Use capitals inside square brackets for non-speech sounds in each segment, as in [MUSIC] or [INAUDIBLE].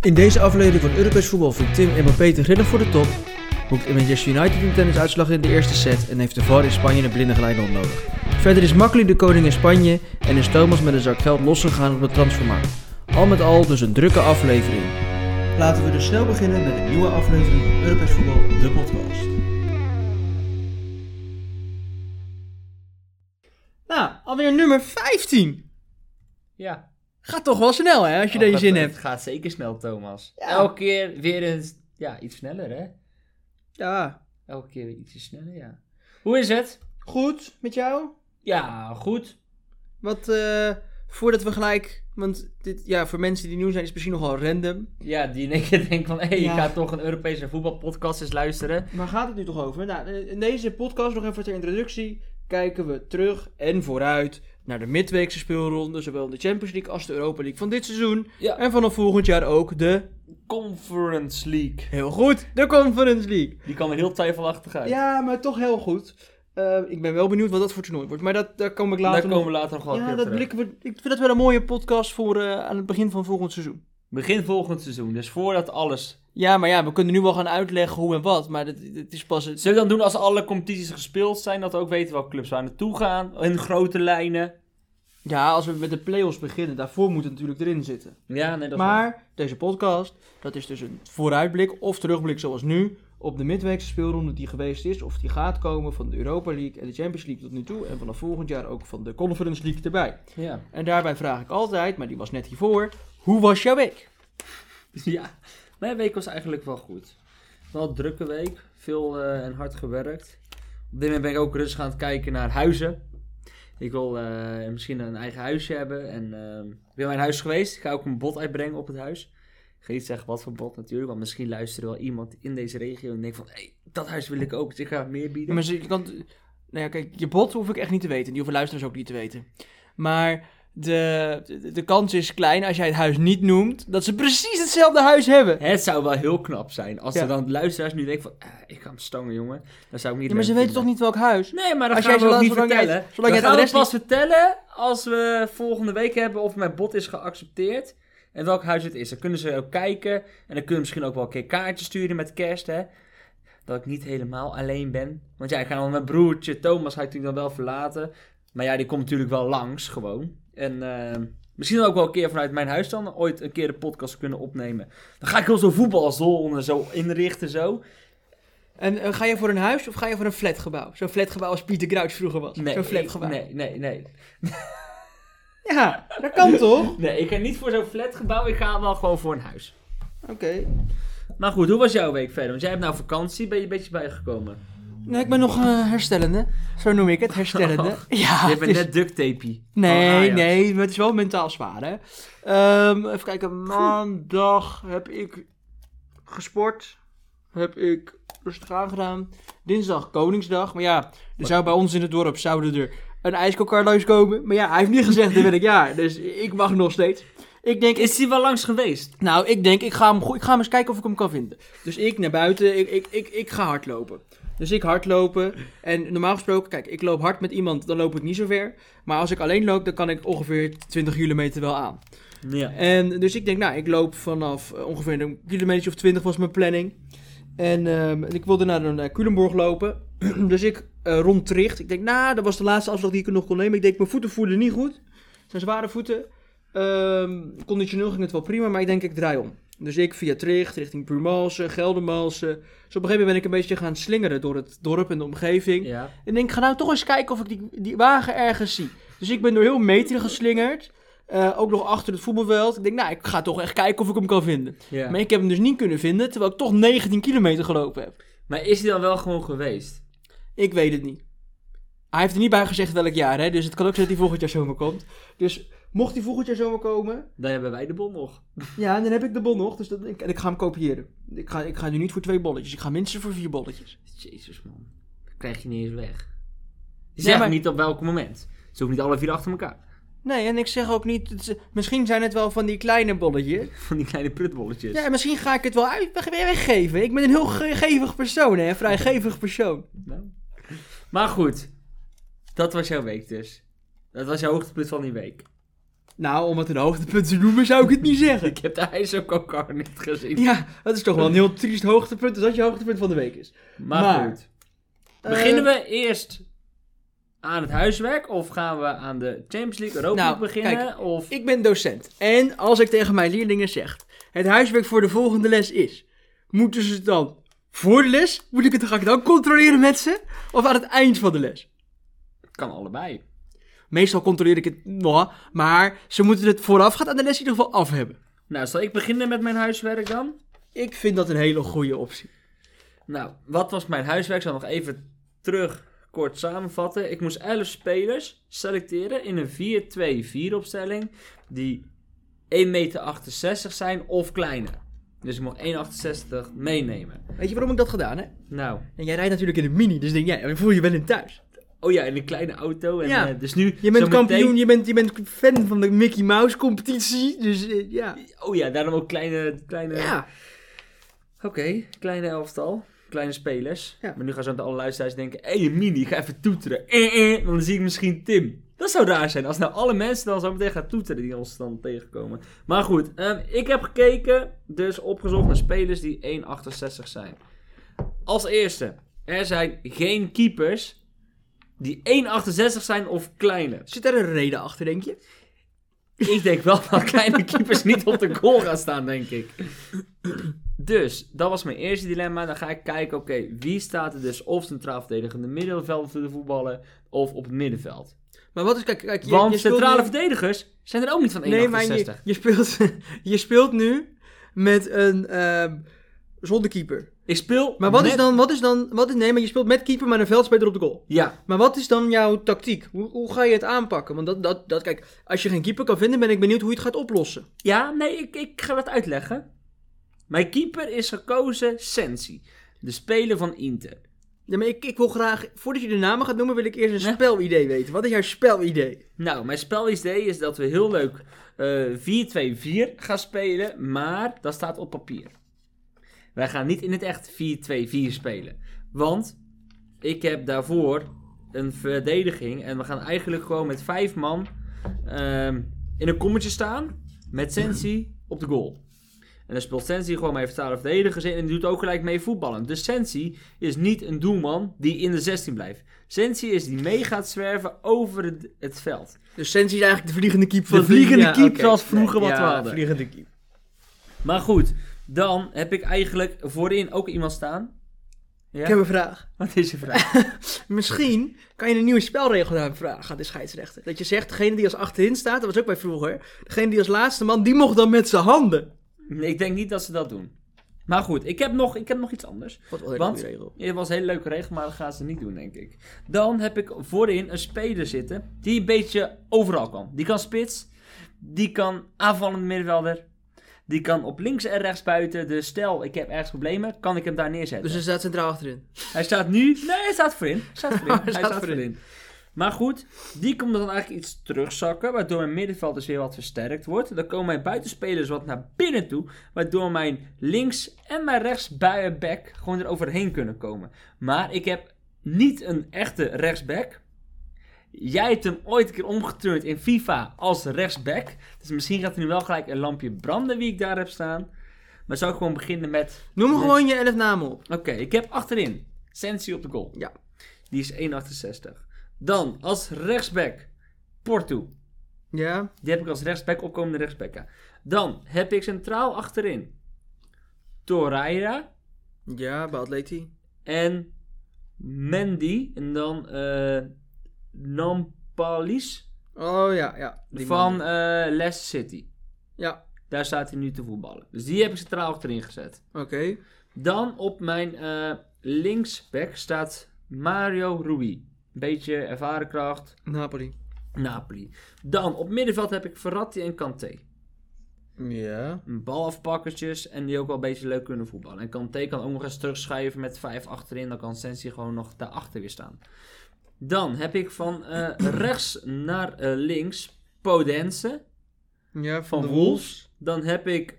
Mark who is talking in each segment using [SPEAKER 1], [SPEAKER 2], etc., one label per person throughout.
[SPEAKER 1] In deze aflevering van Europees voetbal vindt Tim en Peter ridder voor de top. Boekt in Manchester United een tennisuitslag in de eerste set en heeft de VAR in Spanje een blinde glijband nodig. Verder is Makkeli de koning in Spanje en is Thomas met een zak geld losgegaan op de transfermarkt. Al met al dus een drukke aflevering. Laten we dus snel beginnen met een nieuwe aflevering van Europees voetbal, de podcast. Nou, alweer nummer 15.
[SPEAKER 2] Ja.
[SPEAKER 1] Gaat toch wel snel hè, als je
[SPEAKER 2] Oh,
[SPEAKER 1] deze
[SPEAKER 2] dat-
[SPEAKER 1] zin
[SPEAKER 2] het
[SPEAKER 1] hebt.
[SPEAKER 2] gaat zeker snel, Thomas. Elke keer weer eens, ja, iets sneller, hè?
[SPEAKER 1] Ja,
[SPEAKER 2] Elke keer weer ietsje sneller, ja. Hoe is het?
[SPEAKER 1] goed met jou?
[SPEAKER 2] Ja, goed.
[SPEAKER 1] Wat, eh, voordat we gelijk, want dit, ja, voor mensen die nieuw zijn is het misschien nogal random.
[SPEAKER 2] Ja, die in één keer denkt van, hé, hey,
[SPEAKER 1] Ja.
[SPEAKER 2] [LAUGHS] ik ga toch een Europese voetbalpodcast eens luisteren.
[SPEAKER 1] Waar gaat het nu toch over? Nou, in deze podcast, nog even ter introductie, kijken we terug en vooruit naar de midweekse speelronde, zowel de Champions League als de Europa League van dit seizoen.
[SPEAKER 2] Ja.
[SPEAKER 1] En vanaf volgend jaar ook de,
[SPEAKER 2] Conference League.
[SPEAKER 1] heel goed, de Conference League.
[SPEAKER 2] Die kwam er heel twijfelachtig uit.
[SPEAKER 1] Ja, maar toch heel goed. Eh, ik ben wel benieuwd wat dat voor toernooi wordt, maar dat, daar kom ik later
[SPEAKER 2] Daar komen
[SPEAKER 1] nog-
[SPEAKER 2] we later nog wel een
[SPEAKER 1] Ja,
[SPEAKER 2] keer
[SPEAKER 1] dat
[SPEAKER 2] terug.
[SPEAKER 1] blikken we, ik vind dat wel een mooie podcast voor eh, aan het begin van volgend seizoen.
[SPEAKER 2] Begin volgend seizoen, dus voordat alles.
[SPEAKER 1] Ja, maar ja, we kunnen nu wel gaan uitleggen hoe en wat, maar het, het is pas... Het...
[SPEAKER 2] Zullen we dan doen als alle competities gespeeld zijn, dat we ook weten welke clubs waar naartoe gaan, in grote lijnen.
[SPEAKER 1] Ja, als we met de play-offs beginnen, daarvoor moet het natuurlijk erin zitten.
[SPEAKER 2] Ja, nee, dat is waar.
[SPEAKER 1] Maar deze podcast, dat is dus een vooruitblik of terugblik zoals nu... op de midweekse speelronde die geweest is of die gaat komen van de Europa League en de Champions League tot nu toe... en vanaf volgend jaar ook van de Conference League erbij.
[SPEAKER 2] Ja.
[SPEAKER 1] En daarbij vraag ik altijd, maar die was net hiervoor, hoe was jouw week?
[SPEAKER 2] [LAUGHS] Ja, mijn week was eigenlijk wel goed. Wel een drukke week, veel eh, en hard gewerkt. Op dit moment ben ik ook rustig aan het kijken naar huizen. Ik wil eh, misschien een eigen huisje hebben en ehm, ik ben bij een huis geweest. Ik ga ook een bod uitbrengen op het huis. Ik ga niet zeggen wat voor bod natuurlijk, want misschien luistert er wel iemand in deze regio en denkt van... hey, dat huis wil ik ook, dus ik ga meer bieden.
[SPEAKER 1] Maar ze- je kan... Nou ja, kijk, je bot hoef ik echt niet te weten. Die hoeven luisteraars ook niet te weten. Maar de, de, de kans is klein, als jij het huis niet noemt, dat ze precies hetzelfde huis hebben.
[SPEAKER 2] Het zou wel heel knap zijn als
[SPEAKER 1] Ja.
[SPEAKER 2] er dan luisteraars nu denken van... "Ah, ik ga hem stangen, jongen. Dan zou ik niet
[SPEAKER 1] Ja, maar ze
[SPEAKER 2] leuk
[SPEAKER 1] weten toch
[SPEAKER 2] vinden.
[SPEAKER 1] niet welk huis?
[SPEAKER 2] Nee, maar dat
[SPEAKER 1] Als
[SPEAKER 2] gaan
[SPEAKER 1] jij
[SPEAKER 2] we
[SPEAKER 1] zolang-
[SPEAKER 2] ook niet
[SPEAKER 1] zolang jij het-
[SPEAKER 2] vertellen.
[SPEAKER 1] zolang jij het
[SPEAKER 2] dan gaan we
[SPEAKER 1] adres
[SPEAKER 2] het pas vertellen als we volgende week hebben of mijn bod is geaccepteerd. En welk huis het is. Dan kunnen ze ook kijken. En dan kunnen we misschien ook wel een keer kaartjes sturen met kerst, hè. Dat ik niet helemaal alleen ben. Want ja, ik ga dan met mijn broertje Thomas, hij natuurlijk dan wel verlaten. Maar ja, die komt natuurlijk wel langs, gewoon. En ehm, misschien ook wel een keer vanuit mijn huis dan ooit een keer een podcast kunnen opnemen. Dan ga ik heel zo'n voetbalzone zo inrichten, zo.
[SPEAKER 1] En eh, ga je voor een huis of ga je voor een flatgebouw? Zo'n flatgebouw als Pieter Gruijs vroeger was. Zo'n
[SPEAKER 2] ik-
[SPEAKER 1] flatgebouw.
[SPEAKER 2] nee, nee, nee.
[SPEAKER 1] Ja, dat
[SPEAKER 2] [LAUGHS]
[SPEAKER 1] kan toch?
[SPEAKER 2] Nee, ik ga niet voor zo'n flatgebouw. Ik ga wel gewoon voor een huis.
[SPEAKER 1] Oké.
[SPEAKER 2] Maar goed, hoe was jouw week verder? Want jij hebt nou vakantie, ben je een beetje bijgekomen.
[SPEAKER 1] Nee, ik ben nog eh, herstellende. Zo noem ik het, herstellende. ja,
[SPEAKER 2] Oh. je
[SPEAKER 1] het
[SPEAKER 2] bent
[SPEAKER 1] is-
[SPEAKER 2] net duct Oh, ah, tapey. Van
[SPEAKER 1] Nee,
[SPEAKER 2] Ajax.
[SPEAKER 1] nee, maar het is wel mentaal zwaar, hè. Ehm, even kijken, maandag heb ik gesport. Heb ik rustig aangedaan. Dinsdag Koningsdag. Maar ja, er zou bij ons in het dorp zouden er een ijskoelkar langskomen. Maar ja, hij heeft niet gezegd, dat ben ik ja. Dus ik mag nog steeds. Ik denk,
[SPEAKER 2] Is hij wel langs geweest?
[SPEAKER 1] nou, ik denk, ik ga hem, goe- ik ga hem eens kijken of ik hem kan vinden. Dus ik naar buiten, ik, ik, ik, ik ga hardlopen. Dus ik hardlopen. En normaal gesproken, kijk, ik loop hard met iemand, dan loop ik niet zo ver. Maar als ik alleen loop, dan kan ik ongeveer 20 kilometer wel aan.
[SPEAKER 2] Ja.
[SPEAKER 1] En dus ik denk, nou, ik loop vanaf eh, ongeveer een kilometer of 20 was mijn planning. En ehm, ik wilde naar een eh, Culemborg lopen. [CLEARS THROAT] dus ik eh, rond Tricht. Ik denk, nou, dat was de laatste afslag die ik nog kon nemen. Ik denk, mijn voeten voelden niet goed. Het zijn zware voeten. Ehm, conditioneel ging het wel prima, maar ik denk, ik draai om. Dus ik via Tricht, richting Purmalsen, Geldermalsen. Dus op een gegeven moment ben ik een beetje gaan slingeren door het dorp en de omgeving.
[SPEAKER 2] ja.
[SPEAKER 1] En denk, ik ga nou toch eens kijken of ik die, die wagen ergens zie. Dus ik ben door heel Meteren geslingerd. eh, ook nog achter het voetbalveld. Ik denk, nou, ik ga toch echt kijken of ik hem kan vinden.
[SPEAKER 2] ja.
[SPEAKER 1] Maar ik heb hem dus niet kunnen vinden, terwijl ik toch 19 kilometer gelopen heb.
[SPEAKER 2] Maar is hij dan wel gewoon geweest?
[SPEAKER 1] Ik weet het niet. Hij heeft er niet bij gezegd welk jaar, hè. Dus het kan ook zijn dat hij volgend jaar zomer komt. Dus mocht hij volgend jaar zomer komen,
[SPEAKER 2] Dan hebben wij de bon nog.
[SPEAKER 1] ja, dan heb ik de bon nog. Dus dat, ik, en ik ga hem kopiëren. Ik ga, ik ga nu niet voor twee bolletjes. Ik ga minstens voor vier bolletjes.
[SPEAKER 2] Jezus man. Dat krijg je niet eens weg. Zeg
[SPEAKER 1] Nee, maar-
[SPEAKER 2] maar niet op welk moment. Ze hoeven niet alle vier achter elkaar. [LAUGHS]
[SPEAKER 1] Nee, en ik zeg ook niet... het is- misschien zijn het wel van die kleine bolletjes.
[SPEAKER 2] Van die kleine prutbolletjes.
[SPEAKER 1] Dus- Ja, en misschien ga ik het wel uit, weg- weggeven. Ik ben een heel ge- gevig persoon, hè. Een vrij gevig persoon.
[SPEAKER 2] Nou. Maar goed. Dat was jouw week dus. Dat was jouw hoogtepunt van die week.
[SPEAKER 1] Nou, om het een hoogtepunt te noemen, zou ik het niet zeggen.
[SPEAKER 2] Ik heb de ijzerkokar niet gezien.
[SPEAKER 1] Ja, dat is toch wel een heel triest hoogtepunt als dat je hoogtepunt van de week is.
[SPEAKER 2] Maar,
[SPEAKER 1] Maar, eh,
[SPEAKER 2] goed. Beginnen we eerst aan het huiswerk of gaan we aan de Champions League Europa
[SPEAKER 1] Nou,
[SPEAKER 2] League beginnen? of...
[SPEAKER 1] Ik ben docent. En als ik tegen mijn leerlingen zeg: het huiswerk voor de volgende les is. Moeten ze het dan voor de les? Moet ik het, ga ik het dan controleren met ze? Of aan het eind van de les?
[SPEAKER 2] Kan allebei.
[SPEAKER 1] Meestal controleer ik het, nou, maar ze moeten het voorafgaand aan de les in ieder geval af hebben.
[SPEAKER 2] Nou, zal ik beginnen met mijn huiswerk dan?
[SPEAKER 1] Ik vind dat een hele goede optie.
[SPEAKER 2] Nou, wat was mijn huiswerk? Ik zal nog even terug kort samenvatten. Ik moest 11 spelers selecteren in een 4-2-4 opstelling die 1,68 meter zijn of kleiner. Dus ik mocht 1,68 meenemen.
[SPEAKER 1] Weet je waarom ik dat gedaan heb?
[SPEAKER 2] Nou,
[SPEAKER 1] En jij rijdt natuurlijk in de mini, dus denk jij, dan voel je wel in thuis.
[SPEAKER 2] oh ja, in een kleine auto. En,
[SPEAKER 1] Ja.
[SPEAKER 2] eh, dus nu
[SPEAKER 1] Je bent
[SPEAKER 2] zometeen-
[SPEAKER 1] kampioen, je bent, je bent fan van de Mickey Mouse competitie, dus eh, ja.
[SPEAKER 2] Oh ja, daarom ook kleine... kleine...
[SPEAKER 1] Ja,
[SPEAKER 2] Oké, kleine elftal. Kleine spelers.
[SPEAKER 1] Ja.
[SPEAKER 2] Maar nu gaan zo meteen alle luisteraars denken... Hé, hey, Mini, ga even toeteren. Eh, eh, dan zie ik misschien Tim. Dat zou raar zijn als nou alle mensen dan zo meteen gaan toeteren die ons dan tegenkomen. Maar goed, ehm, ik heb gekeken, dus opgezocht naar spelers die 1,68 zijn. Als eerste, er zijn geen keepers die 1,68 zijn of kleiner.
[SPEAKER 1] zit daar een reden achter, denk je?
[SPEAKER 2] Ik denk wel
[SPEAKER 1] [LAUGHS]
[SPEAKER 2] dat kleine keepers niet op de goal gaan staan, denk ik. Dus, dat was mijn eerste dilemma. Dan ga ik kijken, oké, wie staat er dus of centraal verdedigende middenveld te voetballen of op het middenveld?
[SPEAKER 1] Maar wat is, kijk, kijk je,
[SPEAKER 2] Want
[SPEAKER 1] je speelt
[SPEAKER 2] centrale
[SPEAKER 1] nu-
[SPEAKER 2] verdedigers zijn er ook niet van 1,68.
[SPEAKER 1] Nee, maar je, je, speelt, [LAUGHS] je speelt nu met een, ehm, zonder keeper.
[SPEAKER 2] Ik speel
[SPEAKER 1] Maar wat
[SPEAKER 2] met-
[SPEAKER 1] is dan, wat is dan, wat is, nee, maar je speelt met keeper, maar een veldspeler op de goal.
[SPEAKER 2] Ja,
[SPEAKER 1] Maar wat is dan jouw tactiek? Hoe, hoe ga je het aanpakken? Want dat, dat, dat, kijk, als je geen keeper kan vinden, ben ik benieuwd hoe je het gaat oplossen.
[SPEAKER 2] ja nee, ik, ik ga dat uitleggen. Mijn keeper is gekozen Sensi, de speler van Inter.
[SPEAKER 1] Ja, maar ik, ik wil graag, voordat je de namen gaat noemen, wil ik eerst een
[SPEAKER 2] Ja.
[SPEAKER 1] spelidee weten. Wat is jouw spelidee?
[SPEAKER 2] Nou, mijn spelidee is dat we heel leuk eh 4-2-4 gaan spelen, maar dat staat op papier. Wij gaan niet in het echt 4-2-4 spelen. Want ik heb daarvoor een verdediging en we gaan eigenlijk gewoon met vijf man ehm, in een kommetje staan met Sensi op de goal. En dan speelt Sensi gewoon mee vertalen verdedigers in en die doet ook gelijk mee voetballen. Dus Sensi is niet een doelman die in de 16 blijft. Sensi is die mee gaat zwerven over het, het veld.
[SPEAKER 1] Dus Sensi is eigenlijk de vliegende keeper
[SPEAKER 2] De
[SPEAKER 1] van
[SPEAKER 2] vliegende
[SPEAKER 1] ja,
[SPEAKER 2] keep
[SPEAKER 1] oké.
[SPEAKER 2] zoals vroeger
[SPEAKER 1] Nee,
[SPEAKER 2] wat
[SPEAKER 1] ja,
[SPEAKER 2] we hadden.
[SPEAKER 1] vliegende keep.
[SPEAKER 2] Maar goed, dan heb ik eigenlijk voorin ook iemand staan. Ja?
[SPEAKER 1] Ik heb een vraag.
[SPEAKER 2] Wat is je
[SPEAKER 1] [LAUGHS]
[SPEAKER 2] vraag?
[SPEAKER 1] Misschien kan je een nieuwe spelregel aanvragen aan de scheidsrechter. Dat je zegt, degene die als achterin staat, dat was ook bij vroeger, degene die als laatste man, die mocht dan met zijn handen.
[SPEAKER 2] Nee, ik denk niet dat ze dat doen. Maar goed, ik heb nog, ik heb nog iets anders.
[SPEAKER 1] Wat wel een
[SPEAKER 2] Want-
[SPEAKER 1] goede regel.
[SPEAKER 2] Ja, dat was een hele leuke regel, maar dat gaan ze niet doen, denk ik. Dan heb ik voorin een speler zitten die een beetje overal kan. Die kan spits, die kan aanvallend middenvelder, die kan op links en rechts buiten. Dus stel, ik heb ergens problemen, kan ik hem daar neerzetten.
[SPEAKER 1] Dus hij staat centraal achterin.
[SPEAKER 2] Hij staat nu. Nee, hij staat voorin. Hij staat voorin. [LAUGHS] hij staat,
[SPEAKER 1] staat
[SPEAKER 2] voorin.
[SPEAKER 1] voorin.
[SPEAKER 2] Maar goed, die komt dan eigenlijk iets terugzakken, waardoor mijn middenveld dus weer wat versterkt wordt. Dan komen mijn buitenspelers wat naar binnen toe, waardoor mijn links en mijn rechts buienback gewoon eroverheen kunnen komen. Maar ik heb niet een echte rechtsback. Jij hebt hem ooit een keer omgeturnd in FIFA als rechtsback. Dus misschien gaat er nu wel gelijk een lampje branden wie ik daar heb staan. Maar zou ik gewoon beginnen met...
[SPEAKER 1] Noem
[SPEAKER 2] Nee.
[SPEAKER 1] gewoon je elf namen op.
[SPEAKER 2] Oké, ik heb achterin Sensi op de goal.
[SPEAKER 1] Ja.
[SPEAKER 2] Die is 1,68. Dan als rechtsback Porto.
[SPEAKER 1] Ja,
[SPEAKER 2] Die heb ik als rechtsback, opkomende rechtsback. ja. Dan heb ik centraal achterin Torreira
[SPEAKER 1] ja, bij Atleti.
[SPEAKER 2] en Mendy. En dan eh Nampalis
[SPEAKER 1] Oh ja, ja. die
[SPEAKER 2] van
[SPEAKER 1] man.
[SPEAKER 2] eh Leicester City.
[SPEAKER 1] Ja,
[SPEAKER 2] Daar staat hij nu te voetballen. Dus die heb ik centraal achterin gezet.
[SPEAKER 1] oké.
[SPEAKER 2] Dan op mijn eh linksback staat Mario Rui. Beetje ervaren kracht,
[SPEAKER 1] Napoli.
[SPEAKER 2] Napoli. Dan op middenveld heb ik Verratti en Kanté.
[SPEAKER 1] Ja.
[SPEAKER 2] Balafpakkertjes en die ook wel een beetje leuk kunnen voetballen. En Kanté kan ook nog eens terugschuiven met vijf achterin. Dan kan Sensi gewoon nog daarachter weer staan. Dan heb ik van eh, [CLEARS THROAT] rechts naar eh, links Podense
[SPEAKER 1] Ja, van,
[SPEAKER 2] van
[SPEAKER 1] de
[SPEAKER 2] Wolves. Dan heb ik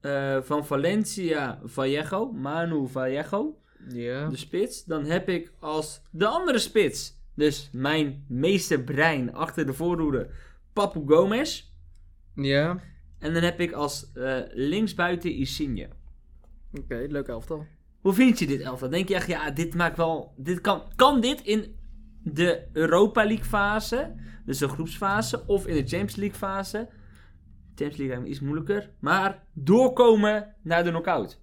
[SPEAKER 2] eh, van Valencia Vallejo, Manu Vallejo.
[SPEAKER 1] Ja.
[SPEAKER 2] de spits. Dan heb ik als de andere spits, dus mijn meeste brein achter de voorhoede, Papu Gomez.
[SPEAKER 1] Ja,
[SPEAKER 2] En dan heb ik als eh, linksbuiten Isigne.
[SPEAKER 1] oké, leuk elftal.
[SPEAKER 2] Hoe vind je dit elftal? Denk je echt, ja, dit maakt wel... Dit kan, kan dit in de Europa League fase, dus de groepsfase, of in de Champions League fase... Champions League lijkt me iets moeilijker. Maar doorkomen naar de knockout.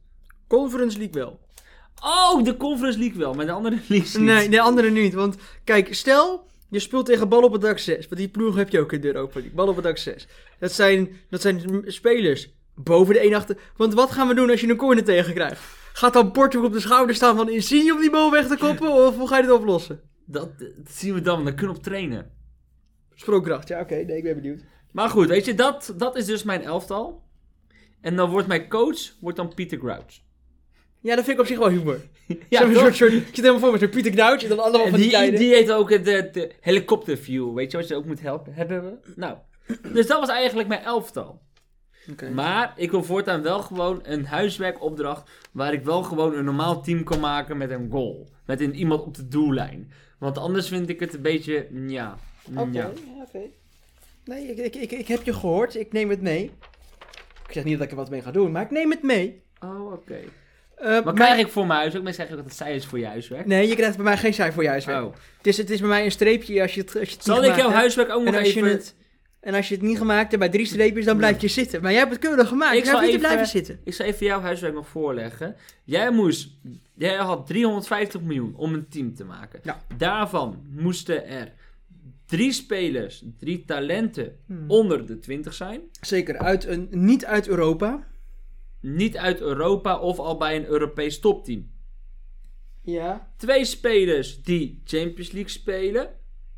[SPEAKER 1] Conference League wel.
[SPEAKER 2] Oh, de Conference League wel, maar de andere [LAUGHS] leagues niet.
[SPEAKER 1] Nee, de andere niet. Want kijk, stel je speelt tegen Bal op het dak 6. Want die ploeg heb je ook in de Europa League. Bal op het dak 6. Dat zijn, dat zijn m- spelers boven de 1 achter. Want wat gaan we doen als je een corner tegenkrijgt? Gaat dan Portugal op de schouder staan van Insigne om die bal weg te koppen? Of hoe ga je dit oplossen?
[SPEAKER 2] Dat, dat zien we dan, want daar kunnen we op trainen.
[SPEAKER 1] Sprookkracht, ja oké. Nee, ik ben benieuwd.
[SPEAKER 2] Maar goed, weet je, dat, dat is dus mijn elftal. En dan wordt mijn coach, wordt dan Pieter Crouch.
[SPEAKER 1] Ja, dat vind ik op zich wel humor.
[SPEAKER 2] Ja,
[SPEAKER 1] Zo'n
[SPEAKER 2] toch?
[SPEAKER 1] soort, soort, ik zit helemaal voor met zo'n Pieter Knauwtje en dan allemaal
[SPEAKER 2] En
[SPEAKER 1] van die,
[SPEAKER 2] die,
[SPEAKER 1] kleine-
[SPEAKER 2] die heeft ook het, eh, de helikopterview, weet je, wat je ook moet helpen, hebben. Nou, dus dat was eigenlijk mijn elftal.
[SPEAKER 1] Oké.
[SPEAKER 2] Maar ik wil voortaan wel gewoon een huiswerkopdracht waar ik wel gewoon een normaal team kan maken met een goal. Met een, iemand op de doellijn. Want anders vind ik het een beetje, mm, ja. mm,
[SPEAKER 1] Oké,
[SPEAKER 2] ja.
[SPEAKER 1] ja, oké. Nee, ik, ik, ik, ik heb je gehoord. Ik neem het mee. Ik zeg niet dat ik er wat mee ga doen, maar ik neem het mee.
[SPEAKER 2] Oh, oké.
[SPEAKER 1] Eh,
[SPEAKER 2] Wat
[SPEAKER 1] maar-
[SPEAKER 2] krijg ik voor mijn huiswerk? Mensen zeggen ook dat het zij is voor je huiswerk.
[SPEAKER 1] Nee, je krijgt bij mij geen cijfer voor je huiswerk.
[SPEAKER 2] Oh.
[SPEAKER 1] Het, is, het is bij mij een streepje als je het, als je het
[SPEAKER 2] Zal
[SPEAKER 1] niet
[SPEAKER 2] ik
[SPEAKER 1] gemaakt
[SPEAKER 2] jouw
[SPEAKER 1] hebt.
[SPEAKER 2] huiswerk ook nog
[SPEAKER 1] als je
[SPEAKER 2] even...
[SPEAKER 1] het- En als je het niet gemaakt hebt bij drie streepjes, dan blijf je zitten. Maar jij hebt het keurig gemaakt.
[SPEAKER 2] Ik
[SPEAKER 1] Ik zou
[SPEAKER 2] zal
[SPEAKER 1] niet te
[SPEAKER 2] even-
[SPEAKER 1] blijven zitten.
[SPEAKER 2] Ik zal even jouw huiswerk nog voorleggen. Jij moest... Jij had 350 miljoen om een team te maken.
[SPEAKER 1] Ja.
[SPEAKER 2] Daarvan moesten er drie spelers, drie talenten
[SPEAKER 1] Hmm.
[SPEAKER 2] onder de 20 zijn.
[SPEAKER 1] Zeker, uit een, niet uit Europa.
[SPEAKER 2] Niet uit Europa of al bij een Europees topteam.
[SPEAKER 1] Ja.
[SPEAKER 2] Twee spelers die Champions League spelen.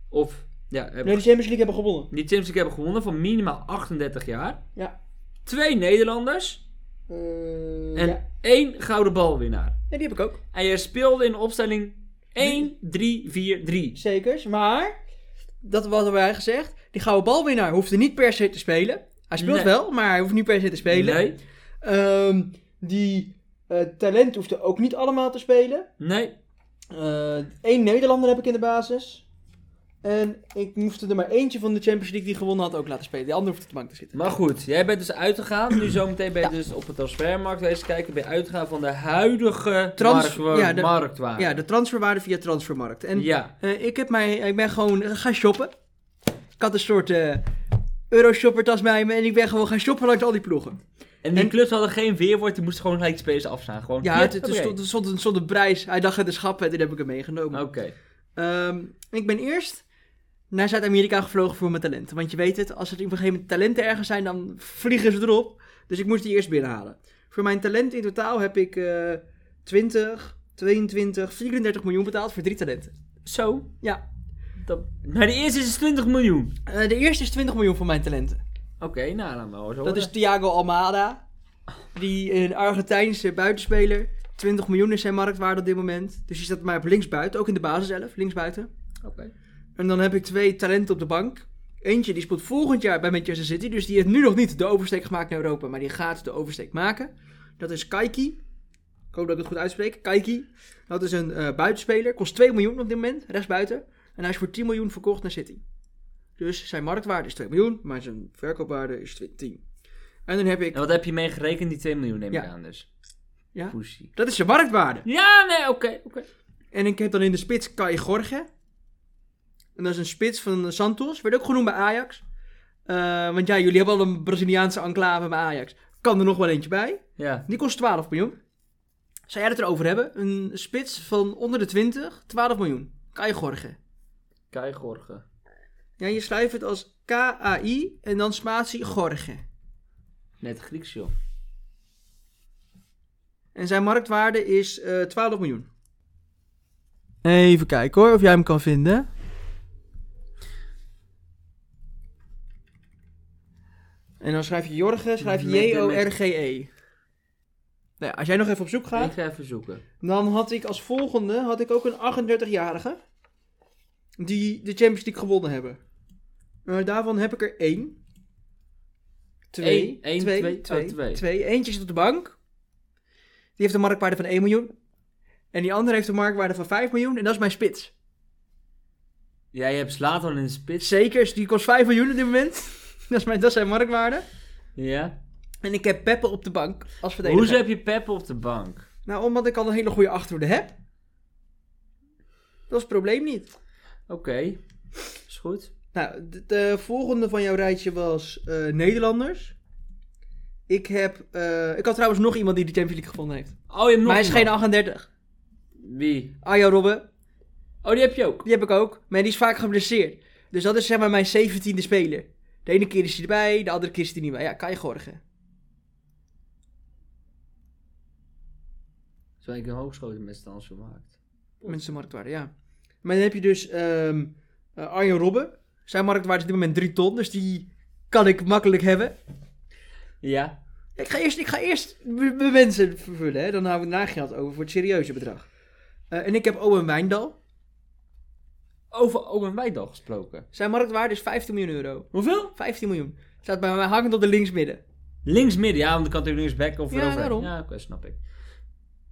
[SPEAKER 2] Of ja, hebben,
[SPEAKER 1] Nee, de Champions League hebben gewonnen.
[SPEAKER 2] die Champions League hebben gewonnen van minimaal 38 jaar.
[SPEAKER 1] Ja.
[SPEAKER 2] Twee Nederlanders.
[SPEAKER 1] Eh,
[SPEAKER 2] En
[SPEAKER 1] ja.
[SPEAKER 2] één gouden balwinnaar.
[SPEAKER 1] Nee, die heb ik ook.
[SPEAKER 2] En je speelde in opstelling 1, 3, 4, 3.
[SPEAKER 1] Zekers. Maar, dat hadden wij gezegd. Die gouden balwinnaar hoefde niet per se te spelen. Hij speelt
[SPEAKER 2] Nee.
[SPEAKER 1] wel, maar hij hoeft niet per se te spelen.
[SPEAKER 2] Nee,
[SPEAKER 1] Ehm, die eh, talent hoefde ook niet allemaal te spelen.
[SPEAKER 2] nee.
[SPEAKER 1] Eén Nederlander heb ik in de basis. En ik moest er maar eentje van de Champions League die gewonnen had ook laten spelen. De ander hoeft op de bank te zitten.
[SPEAKER 2] Maar goed, jij bent dus uitgegaan. [CLEARS THROAT] Nu zometeen ben je dus op het transfermarkt eens kijken. Ben je uitgegaan van de huidige
[SPEAKER 1] Trans-
[SPEAKER 2] marktwa-
[SPEAKER 1] ja, de-
[SPEAKER 2] marktwaarde.
[SPEAKER 1] Ja, de transferwaarde via transfermarkt. En
[SPEAKER 2] Ja.
[SPEAKER 1] eh, ik, heb mij, ik ben gewoon eh, gaan shoppen. Ik had een soort eh euroshoppertas bij me en ik ben gewoon gaan shoppen langs al die ploegen.
[SPEAKER 2] En die
[SPEAKER 1] En-
[SPEAKER 2] clubs hadden geen weerwoord. Die moesten gewoon gelijk de spelers afslaan. Gewoon,
[SPEAKER 1] Ja, het, het
[SPEAKER 2] oké.
[SPEAKER 1] stond, er stond, een- stond een prijs. Hij dacht het is schappen en toen heb ik hem meegenomen.
[SPEAKER 2] Oké.
[SPEAKER 1] Ehm, ik ben eerst naar Zuid-Amerika gevlogen voor mijn talenten. Want je weet het, als er op een gegeven moment talenten ergens zijn, dan vliegen ze erop. Dus ik moest die eerst binnenhalen. Voor mijn talenten in totaal heb ik eh 20, 22, 34 miljoen betaald voor drie talenten.
[SPEAKER 2] Zo.
[SPEAKER 1] Ja,
[SPEAKER 2] Dat... Maar de eerste is 20 miljoen.
[SPEAKER 1] eh, de eerste is 20 miljoen voor mijn talenten.
[SPEAKER 2] Oké, nou, laat maar hoor.
[SPEAKER 1] Dat is Thiago Almada, die een Argentijnse buitenspeler. 20 miljoen is zijn marktwaarde op dit moment. Dus die staat maar op linksbuiten, ook in de basis zelf, linksbuiten.
[SPEAKER 2] Oké.
[SPEAKER 1] En dan heb ik twee talenten op de bank. Eentje die speelt volgend jaar bij Manchester City. Dus die heeft nu nog niet de oversteek gemaakt naar Europa. Maar die gaat de oversteek maken. Dat is Kaiki. Ik hoop dat ik het goed uitspreek. Kaiki. Dat is een eh, buitenspeler. Kost 2 miljoen op dit moment. Rechtsbuiten. En hij is voor 10 miljoen verkocht naar City. Dus zijn marktwaarde is 2 miljoen. Maar zijn verkoopwaarde is 10. En dan heb ik...
[SPEAKER 2] En wat heb je mee gerekend? Die 2 miljoen neem ik
[SPEAKER 1] Ja.
[SPEAKER 2] aan dus.
[SPEAKER 1] Ja.
[SPEAKER 2] Pussy.
[SPEAKER 1] Dat is zijn marktwaarde.
[SPEAKER 2] Ja, nee, oké, oké.
[SPEAKER 1] En ik heb dan in de spits Kai Gorge. En dat is een spits van Santos. Werd ook genoemd bij Ajax. Eh, want ja, jullie hebben al een Braziliaanse enclave bij Ajax. Kan er nog wel eentje bij.
[SPEAKER 2] Ja.
[SPEAKER 1] Die kost 12 miljoen. Zou jij het erover hebben? Een spits van onder de 20, 12 miljoen. Kai Gorge.
[SPEAKER 2] Kai Gorgen.
[SPEAKER 1] Ja, je schrijft het als K-A-I en dan spatie Gorge.
[SPEAKER 2] Net Grieks, joh.
[SPEAKER 1] En zijn marktwaarde is eh 12 miljoen. Even kijken hoor, of jij hem kan vinden. En dan schrijf je Jorge, schrijf je
[SPEAKER 2] Met de- met-
[SPEAKER 1] J-O-R-G-E. E. Nou ja, als jij nog even op zoek
[SPEAKER 2] Ik
[SPEAKER 1] gaat,
[SPEAKER 2] ga even zoeken.
[SPEAKER 1] dan had ik als volgende had ik ook een 38-jarige. Die de Champions League gewonnen hebben. Eh, daarvan heb ik er één. Twee.
[SPEAKER 2] Eén, één, twee,
[SPEAKER 1] twee,
[SPEAKER 2] oh, twee.
[SPEAKER 1] twee. Eentje zit op de bank. Die heeft een marktwaarde van 1 miljoen. En die andere heeft een marktwaarde van 5 miljoen. En dat is mijn spits.
[SPEAKER 2] Jij hebt Slatan in de spits.
[SPEAKER 1] Zeker, die kost 5 miljoen op dit moment. [LAUGHS] Dat, is mijn, dat zijn marktwaarden.
[SPEAKER 2] Ja.
[SPEAKER 1] En ik heb Peppe op de bank als verdediger.
[SPEAKER 2] Hoezo heb je Pep op de bank?
[SPEAKER 1] Nou, omdat ik al een hele goede achterhoede heb. Dat is het probleem niet.
[SPEAKER 2] Oké. Is goed.
[SPEAKER 1] Nou, de, de volgende van jouw rijtje was eh, Nederlanders. Ik heb... eh, ik had trouwens nog iemand die de Champions League gevonden heeft.
[SPEAKER 2] Oh, je hebt nog
[SPEAKER 1] maar hij is geen
[SPEAKER 2] iemand.
[SPEAKER 1] 38.
[SPEAKER 2] Wie?
[SPEAKER 1] Arjo Robben,
[SPEAKER 2] Oh, die heb je ook.
[SPEAKER 1] die heb ik ook. Maar die is vaak geblesseerd. Dus dat is zeg maar mijn 17e speler. De ene keer is hij erbij, de andere keer is hij niet bij. Ja, Kai Gorgen.
[SPEAKER 2] Zo heb ik een hoogschoten met stand gemaakt.
[SPEAKER 1] Mensen marktwaarde, ja. Maar dan heb je dus ehm eh, Arjen Robben. Zijn marktwaarde is op dit moment 3 ton, dus die kan ik makkelijk hebben.
[SPEAKER 2] Ja.
[SPEAKER 1] Ik ga eerst, ik ga eerst m- mijn wensen vervullen, hè. Dan houden we nagehaald over voor het serieuze bedrag. Eh, en ik heb Owen Wijndal.
[SPEAKER 2] Over Owen Wijdal gesproken.
[SPEAKER 1] Zijn marktwaarde is 15 miljoen euro.
[SPEAKER 2] Hoeveel?
[SPEAKER 1] 15 miljoen. Staat bij mij hangend op de linksmidden.
[SPEAKER 2] Links midden. Ja, want dan kan natuurlijk links back of
[SPEAKER 1] Ja,
[SPEAKER 2] erover.
[SPEAKER 1] daarom.
[SPEAKER 2] Ja, oké, snap ik.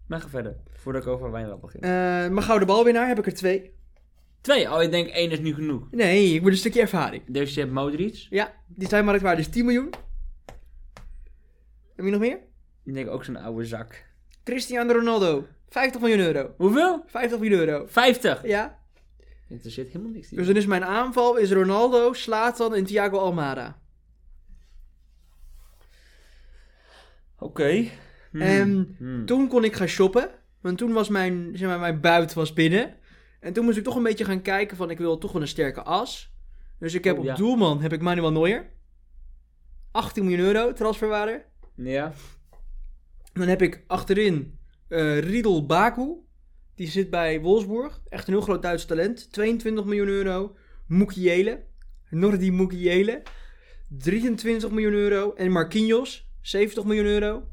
[SPEAKER 2] Maar ga verder. Voordat ik over Wijndal begin.
[SPEAKER 1] Eh mijn gouden balwinnaar heb ik er twee.
[SPEAKER 2] Twee. Oh, ik denk één is nu genoeg.
[SPEAKER 1] Nee, ik moet een stukje ervaring.
[SPEAKER 2] Dus je hebt Modric.
[SPEAKER 1] Ja, die zijn marktwaarde is 10 miljoen. Heb je nog meer?
[SPEAKER 2] Ik denk ook zo'n oude zak.
[SPEAKER 1] Cristiano Ronaldo, 50 miljoen euro.
[SPEAKER 2] Hoeveel?
[SPEAKER 1] 50 miljoen euro.
[SPEAKER 2] 50.
[SPEAKER 1] Ja,
[SPEAKER 2] Er zit helemaal niks in.
[SPEAKER 1] dus dan is mijn aanval is Ronaldo, Slatan en Thiago Almada.
[SPEAKER 2] Oké. Hmm.
[SPEAKER 1] En
[SPEAKER 2] Hmm.
[SPEAKER 1] toen kon ik gaan shoppen, want toen was mijn, zeg maar, mijn buit was binnen. En toen moest ik toch een beetje gaan kijken van ik wil toch wel een sterke as. Dus ik heb
[SPEAKER 2] Oh,
[SPEAKER 1] op
[SPEAKER 2] ja.
[SPEAKER 1] doelman heb ik Manuel Neuer. 18 miljoen euro transferwaarde.
[SPEAKER 2] Ja.
[SPEAKER 1] Dan heb ik achterin eh Riedel Baku. Die zit bij Wolfsburg. Echt een heel groot Duits talent. 22 miljoen euro. Mukiele. Nordi Mukiele. 23 miljoen euro. En Marquinhos. 70 miljoen euro.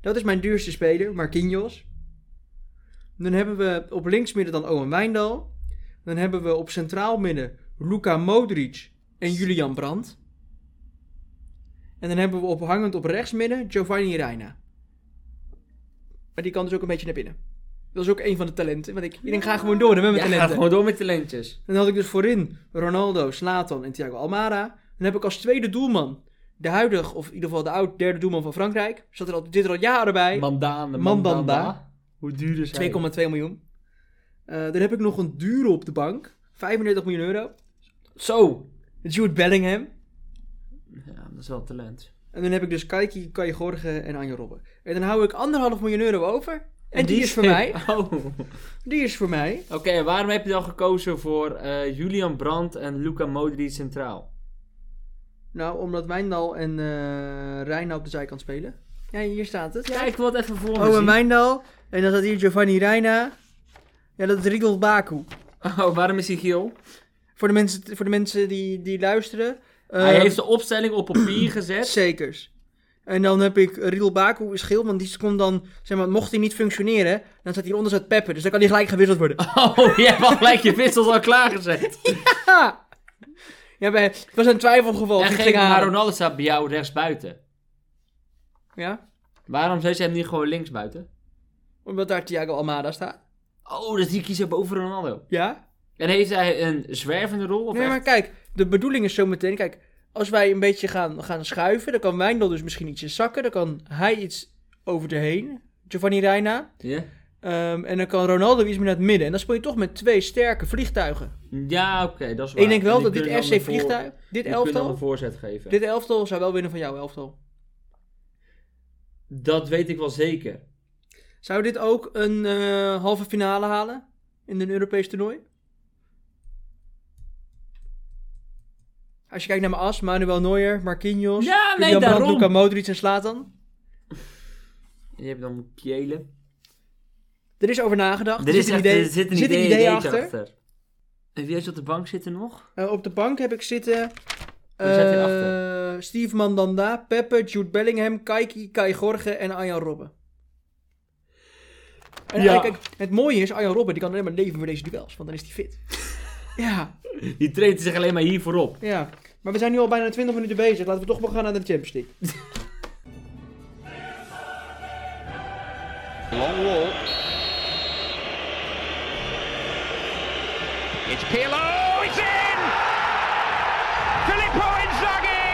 [SPEAKER 1] Dat is mijn duurste speler, Marquinhos. Dan hebben we op linksmidden dan Owen Wijndal. Dan hebben we op centraal midden Luka Modric en Julian Brandt. En dan hebben we op hangend op rechtsmidden Giovanni Reina. Maar die kan dus ook een beetje naar binnen. Dat is ook een van de talenten. Want ik, ik ga gewoon door hè, met mijn
[SPEAKER 2] Ja, ga
[SPEAKER 1] talenten.
[SPEAKER 2] gewoon door met talentjes.
[SPEAKER 1] Dan had ik dus voorin Ronaldo, Slatan en Thiago Almada. Dan heb ik als tweede doelman de huidige, of in ieder geval de oud derde doelman van Frankrijk. Zat er al, dit er al jaren bij.
[SPEAKER 2] Mandanda.
[SPEAKER 1] Mandanda.
[SPEAKER 2] Hoe duur is hij?
[SPEAKER 1] 2,2 miljoen. Eh, dan heb ik nog een dure op de bank. 35 miljoen euro.
[SPEAKER 2] Zo.
[SPEAKER 1] Jude Bellingham.
[SPEAKER 2] Ja, dat is wel talent.
[SPEAKER 1] En dan heb ik dus Kaiki, Kai Gorgen en Anja Robben. En dan hou ik anderhalf miljoen euro over. En, die, is voor mij.
[SPEAKER 2] [LAUGHS] Oh. Oké,
[SPEAKER 1] Die is voor mij.
[SPEAKER 2] en waarom heb je dan gekozen voor eh, Julian Brandt en Luca Modric centraal?
[SPEAKER 1] Nou, omdat Wijndal en eh Reina op de zijkant spelen. Ja, hier staat het.
[SPEAKER 2] Kijk wat even voor me
[SPEAKER 1] Oh, en
[SPEAKER 2] zien.
[SPEAKER 1] Wijndal. En dan staat hier Giovanni Reina. Ja, dat is Riedel Baku.
[SPEAKER 2] [LAUGHS] Oh, waarom is hij geel?
[SPEAKER 1] Voor de mensen, voor de mensen die, die luisteren. eh,
[SPEAKER 2] hij heeft de opstelling op papier gezet.
[SPEAKER 1] Zekers. En dan heb ik Riedel Baku is geel, want die komt dan, zeg maar, mocht hij niet functioneren, dan staat hieronder staat Peppe, dus dan kan hij gelijk gewisseld worden.
[SPEAKER 2] [LAUGHS] Oh, je hebt al gelijk je wissels al [LAUGHS] klaargezet.
[SPEAKER 1] Ha! Ja, bij, het was een twijfelgeval.
[SPEAKER 2] en
[SPEAKER 1] Toen
[SPEAKER 2] geen
[SPEAKER 1] ging hij-
[SPEAKER 2] maar Ronaldo staat bij jou rechtsbuiten.
[SPEAKER 1] Ja,
[SPEAKER 2] Waarom zet je hem niet gewoon linksbuiten?
[SPEAKER 1] omdat daar Thiago Almada staat.
[SPEAKER 2] Oh, dus die kiezen boven Ronaldo.
[SPEAKER 1] Ja.
[SPEAKER 2] En heeft hij een zwervende rol? Of
[SPEAKER 1] nee, maar
[SPEAKER 2] echt-
[SPEAKER 1] kijk, de bedoeling is zo meteen, kijk, als wij een beetje gaan, gaan schuiven, dan kan Wijndal dus misschien ietsje zakken, dan kan hij iets over de heen, Giovanni Reina.
[SPEAKER 2] Ja?
[SPEAKER 1] Ehm, en dan kan Ronaldo iets meer naar het midden. En dan speel je toch met twee sterke vliegtuigen.
[SPEAKER 2] Ja, oké, dat is waar.
[SPEAKER 1] Ik denk wel
[SPEAKER 2] Die
[SPEAKER 1] dat dit
[SPEAKER 2] kunnen dan
[SPEAKER 1] FC
[SPEAKER 2] een voor-
[SPEAKER 1] vliegtuig, dit
[SPEAKER 2] die kunnen dan
[SPEAKER 1] elftal,
[SPEAKER 2] een voorzet geven.
[SPEAKER 1] Dit elftal zou wel winnen van jouw elftal.
[SPEAKER 2] Dat weet ik wel zeker.
[SPEAKER 1] Zou dit ook een eh, halve finale halen in een Europees toernooi? Als je kijkt naar mijn as, Manuel Neuer, Marquinhos,
[SPEAKER 2] Ja, nee,
[SPEAKER 1] Julian Brandt,
[SPEAKER 2] daarom.
[SPEAKER 1] Luka Modric en Slatan.
[SPEAKER 2] Je hebt dan kielen.
[SPEAKER 1] Er is over nagedacht.
[SPEAKER 2] Er, is
[SPEAKER 1] een
[SPEAKER 2] echt-
[SPEAKER 1] idee,
[SPEAKER 2] er zit een idee, ideetje achter. En wie heeft op de bank zitten nog?
[SPEAKER 1] Eh, op de bank heb ik zitten
[SPEAKER 2] Wie zat
[SPEAKER 1] eh,
[SPEAKER 2] hierachter?
[SPEAKER 1] Steve Mandanda, Peppe, Jude Bellingham, Kaiki, Kai Gorgen en Arjan Robben. En
[SPEAKER 2] Ja.
[SPEAKER 1] eigenlijk, kijk, het mooie is, Arjan Robben die kan alleen maar leven voor deze duels, want dan is hij
[SPEAKER 2] [LAUGHS]
[SPEAKER 1] fit. ja,
[SPEAKER 2] [LAUGHS] Die treedt zich alleen maar hier voorop.
[SPEAKER 1] ja. Maar we zijn nu al bijna 20 minuten bezig. Laten we toch maar gaan naar de Champions League. [LAUGHS]
[SPEAKER 3] Long wall. It's Pirlo. It's in. Filippo Inzaghi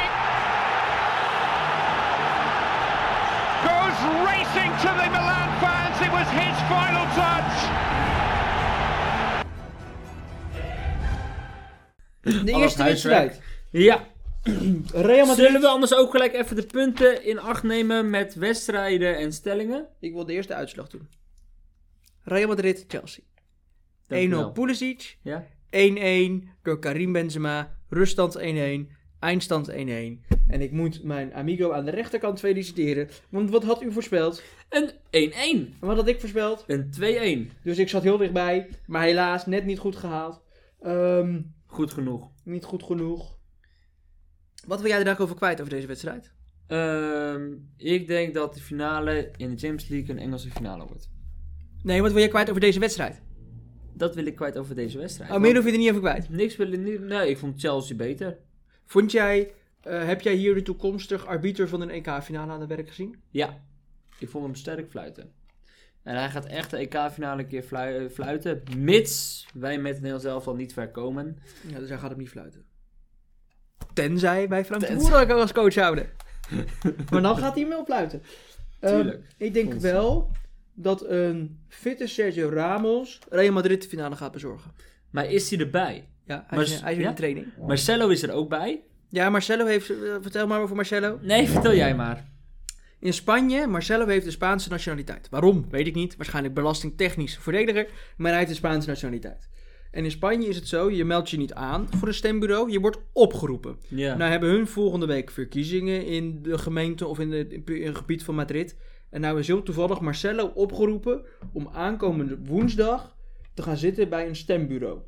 [SPEAKER 3] racing to the Milan fans. It was his final touch.
[SPEAKER 1] De
[SPEAKER 2] Al
[SPEAKER 1] eerste
[SPEAKER 2] het huiswerk.
[SPEAKER 1] wedstrijd.
[SPEAKER 2] Ja, dus-
[SPEAKER 1] Real
[SPEAKER 2] zullen
[SPEAKER 1] Madrid.
[SPEAKER 2] we anders ook gelijk even de punten in acht nemen met wedstrijden en stellingen?
[SPEAKER 1] Ik wil de eerste uitslag doen. Real Madrid, Chelsea. 1-0
[SPEAKER 2] Dankjewel.
[SPEAKER 1] Pulisic.
[SPEAKER 2] Ja.
[SPEAKER 1] 1-1 door Karim Benzema. Ruststand 1-1. Eindstand 1-1. En ik moet mijn amigo aan de rechterkant feliciteren. Want wat had u voorspeld?
[SPEAKER 2] Een 1-1.
[SPEAKER 1] En wat had ik voorspeld?
[SPEAKER 2] Een 2-1.
[SPEAKER 1] Dus ik zat heel dichtbij. Maar helaas net niet goed gehaald. Ehm,
[SPEAKER 2] Goed genoeg.
[SPEAKER 1] niet goed genoeg. Wat wil jij er eigenlijk over kwijt over deze wedstrijd?
[SPEAKER 2] Ehm, ik denk dat de finale in de Champions League een Engelse finale wordt.
[SPEAKER 1] Nee, wat wil jij kwijt over deze wedstrijd?
[SPEAKER 2] Dat wil ik kwijt over deze wedstrijd.
[SPEAKER 1] Oh, meer hoef je er niet over kwijt.
[SPEAKER 2] Want Niks wil ik niet. Nee, ik vond Chelsea beter.
[SPEAKER 1] Vond jij, eh, heb jij hier de toekomstig arbiter van een EK-finale aan het werk gezien?
[SPEAKER 2] Ja, ik vond hem sterk fluiten. En hij gaat echt de EK-finale een keer flui- eh, fluiten. Mits wij met het Nederlands elftal niet ver komen.
[SPEAKER 1] Ja, dus hij gaat hem niet fluiten. Tenzij wij Frank de
[SPEAKER 2] Tenzij.
[SPEAKER 1] Boer ook als coach
[SPEAKER 2] [LAUGHS]
[SPEAKER 1] houden. maar dan gaat hij hem wel fluiten. Ehm,
[SPEAKER 2] Tuurlijk.
[SPEAKER 1] ik denk
[SPEAKER 2] Constant.
[SPEAKER 1] wel dat een fitte Sergio Ramos Real Madrid de finale gaat bezorgen.
[SPEAKER 2] Maar is hij erbij?
[SPEAKER 1] Ja, hij
[SPEAKER 2] Maar
[SPEAKER 1] is,
[SPEAKER 2] s-
[SPEAKER 1] hij is in
[SPEAKER 2] ja?
[SPEAKER 1] de training.
[SPEAKER 2] Marcelo is er ook bij.
[SPEAKER 1] Ja, Marcelo heeft, eh, vertel maar over Marcelo.
[SPEAKER 2] Nee, vertel jij maar.
[SPEAKER 1] In Spanje, Marcelo heeft de Spaanse nationaliteit. Waarom? Weet ik niet. Waarschijnlijk belastingtechnisch verdediger, maar hij heeft de Spaanse nationaliteit. En in Spanje is het zo, je meldt je niet aan voor een stembureau, je wordt opgeroepen.
[SPEAKER 2] Ja.
[SPEAKER 1] Nou hebben hun volgende week verkiezingen in de gemeente of in, de, in het gebied van Madrid. En nou is heel toevallig Marcelo opgeroepen om aankomende woensdag te gaan zitten bij een stembureau.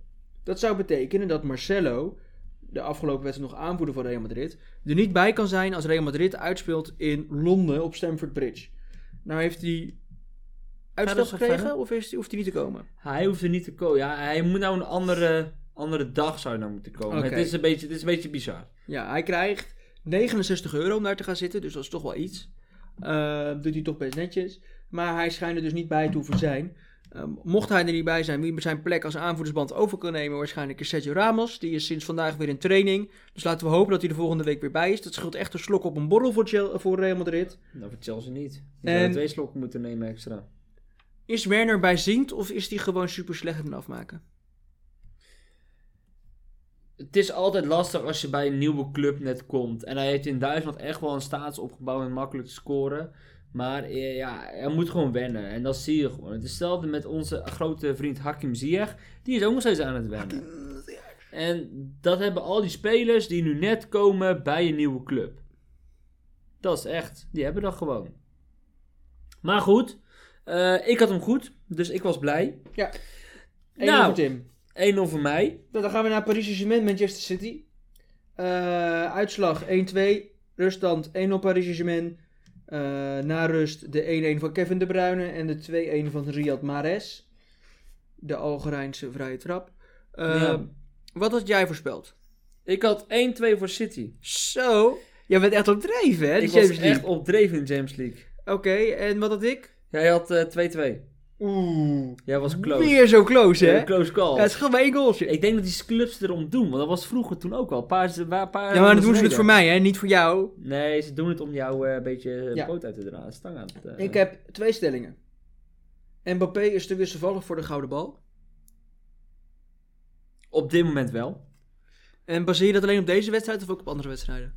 [SPEAKER 1] Dat zou betekenen dat Marcelo, de afgelopen wedstrijd nog aanvoerder van Real Madrid, er niet bij kan zijn als Real Madrid uitspeelt in Londen op Stamford Bridge. Nou heeft hij uitstel
[SPEAKER 2] dat zo verder?
[SPEAKER 1] gekregen of is, hoeft hij niet te komen?
[SPEAKER 2] Hij hoeft er niet te komen. Ja, hij moet nou een andere, andere dag zou hij nou moeten komen.
[SPEAKER 1] Oké.
[SPEAKER 2] Het, is een beetje, het is een beetje bizar.
[SPEAKER 1] Ja, hij krijgt 69 euro om daar te gaan zitten, dus dat is toch wel iets. Eh, doet hij toch best netjes. Maar hij schijnt er dus niet bij te hoeven zijn. Eh, mocht hij er niet bij zijn, wie zijn plek als aanvoerdersband over kan nemen, waarschijnlijk is Sergio Ramos. Die is sinds vandaag weer in training. Dus laten we hopen dat hij de volgende week weer bij is. Dat scheelt echt een slok op een borrel voor, Chel- voor Real Madrid.
[SPEAKER 2] Nou, voor Chelsea niet. Die
[SPEAKER 1] En-
[SPEAKER 2] zouden twee slokken moeten nemen extra.
[SPEAKER 1] Is Werner bijziend of is hij gewoon super slecht in het afmaken?
[SPEAKER 2] Het is altijd lastig als je bij een nieuwe club net komt. En hij heeft in Duitsland echt wel een staats opgebouwd en makkelijk te scoren. Maar eh, ja, hij moet gewoon wennen. En dat zie je gewoon. Het is hetzelfde met onze grote vriend Hakim Ziyech. Die is ook nog steeds aan het wennen. En dat hebben al die spelers die nu net komen bij een nieuwe club. Dat is echt. Die hebben dat gewoon. Maar goed, eh, ik had hem goed. Dus ik was blij. 1-0
[SPEAKER 1] Ja.
[SPEAKER 2] Nou.
[SPEAKER 1] Nou, voor Tim.
[SPEAKER 2] voor mij.
[SPEAKER 1] Nou, dan gaan we naar Paris Saint-Germain, Manchester City. Eh, uitslag 1-2. Ruststand 1-0 Paris Saint-Germain. Eh, na rust de 1-1 van Kevin De Bruyne en de 2-1 van Riyad Mahrez. De Algerijnse vrije trap. Eh,
[SPEAKER 2] Ja.
[SPEAKER 1] Wat had jij voorspeld?
[SPEAKER 2] Ik had 1-2 voor City.
[SPEAKER 1] Zo, jij bent echt op dreven, hè? de
[SPEAKER 2] ik was
[SPEAKER 1] Champions League.
[SPEAKER 2] echt opdreven in de Champions League.
[SPEAKER 1] Oké, en wat had ik?
[SPEAKER 2] Jij had eh, 2-2.
[SPEAKER 1] Oeh,
[SPEAKER 2] Jij was close.
[SPEAKER 1] weer zo close, hè?
[SPEAKER 2] Een close call.
[SPEAKER 1] Ja, het is gewoon maar één goaltje.
[SPEAKER 2] Ik denk dat die clubs erom doen, want dat was vroeger toen ook al. Een Paar, een paar, paar
[SPEAKER 1] Ja, maar dan
[SPEAKER 2] rondes
[SPEAKER 1] doen ze het
[SPEAKER 2] geleden.
[SPEAKER 1] voor mij, hè? Niet voor jou.
[SPEAKER 2] Nee, ze doen het om jou eh, een beetje eh,
[SPEAKER 1] Ja.
[SPEAKER 2] poot uit te draaien. Stang aan te, eh.
[SPEAKER 1] Ik eh, heb twee stellingen. Mbappé is te wisselvallig voor de gouden bal.
[SPEAKER 2] Op dit moment wel.
[SPEAKER 1] En baseer je dat alleen op deze wedstrijd of ook op andere wedstrijden?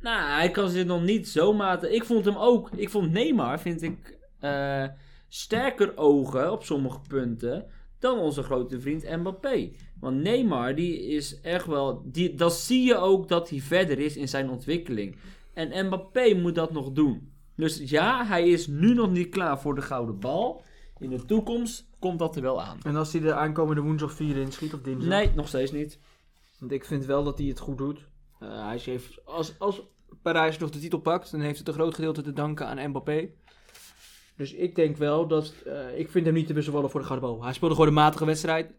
[SPEAKER 2] Nou, hij kan zich nog niet zo maten. Ik vond hem ook. Ik vond Neymar, vind ik, eh, sterker ogen op sommige punten dan onze grote vriend Mbappé. Want Neymar, die is echt wel. Die, dat zie je ook dat hij verder is in zijn ontwikkeling. En Mbappé moet dat nog doen. Dus ja, hij is nu nog niet klaar voor de gouden bal. In de toekomst komt dat er wel aan.
[SPEAKER 1] En als hij de aankomende woensdag 4 in schiet of dinsdag?
[SPEAKER 2] Nee, nog steeds niet.
[SPEAKER 1] Want ik vind wel dat hij het goed doet. Eh, hij heeft, als, als Parijs nog de titel pakt, dan heeft het een groot gedeelte te danken aan Mbappé. Dus ik denk wel dat... eh, ik vind hem niet te wisselvallig voor de gouden bal. Hij speelde gewoon een matige wedstrijd.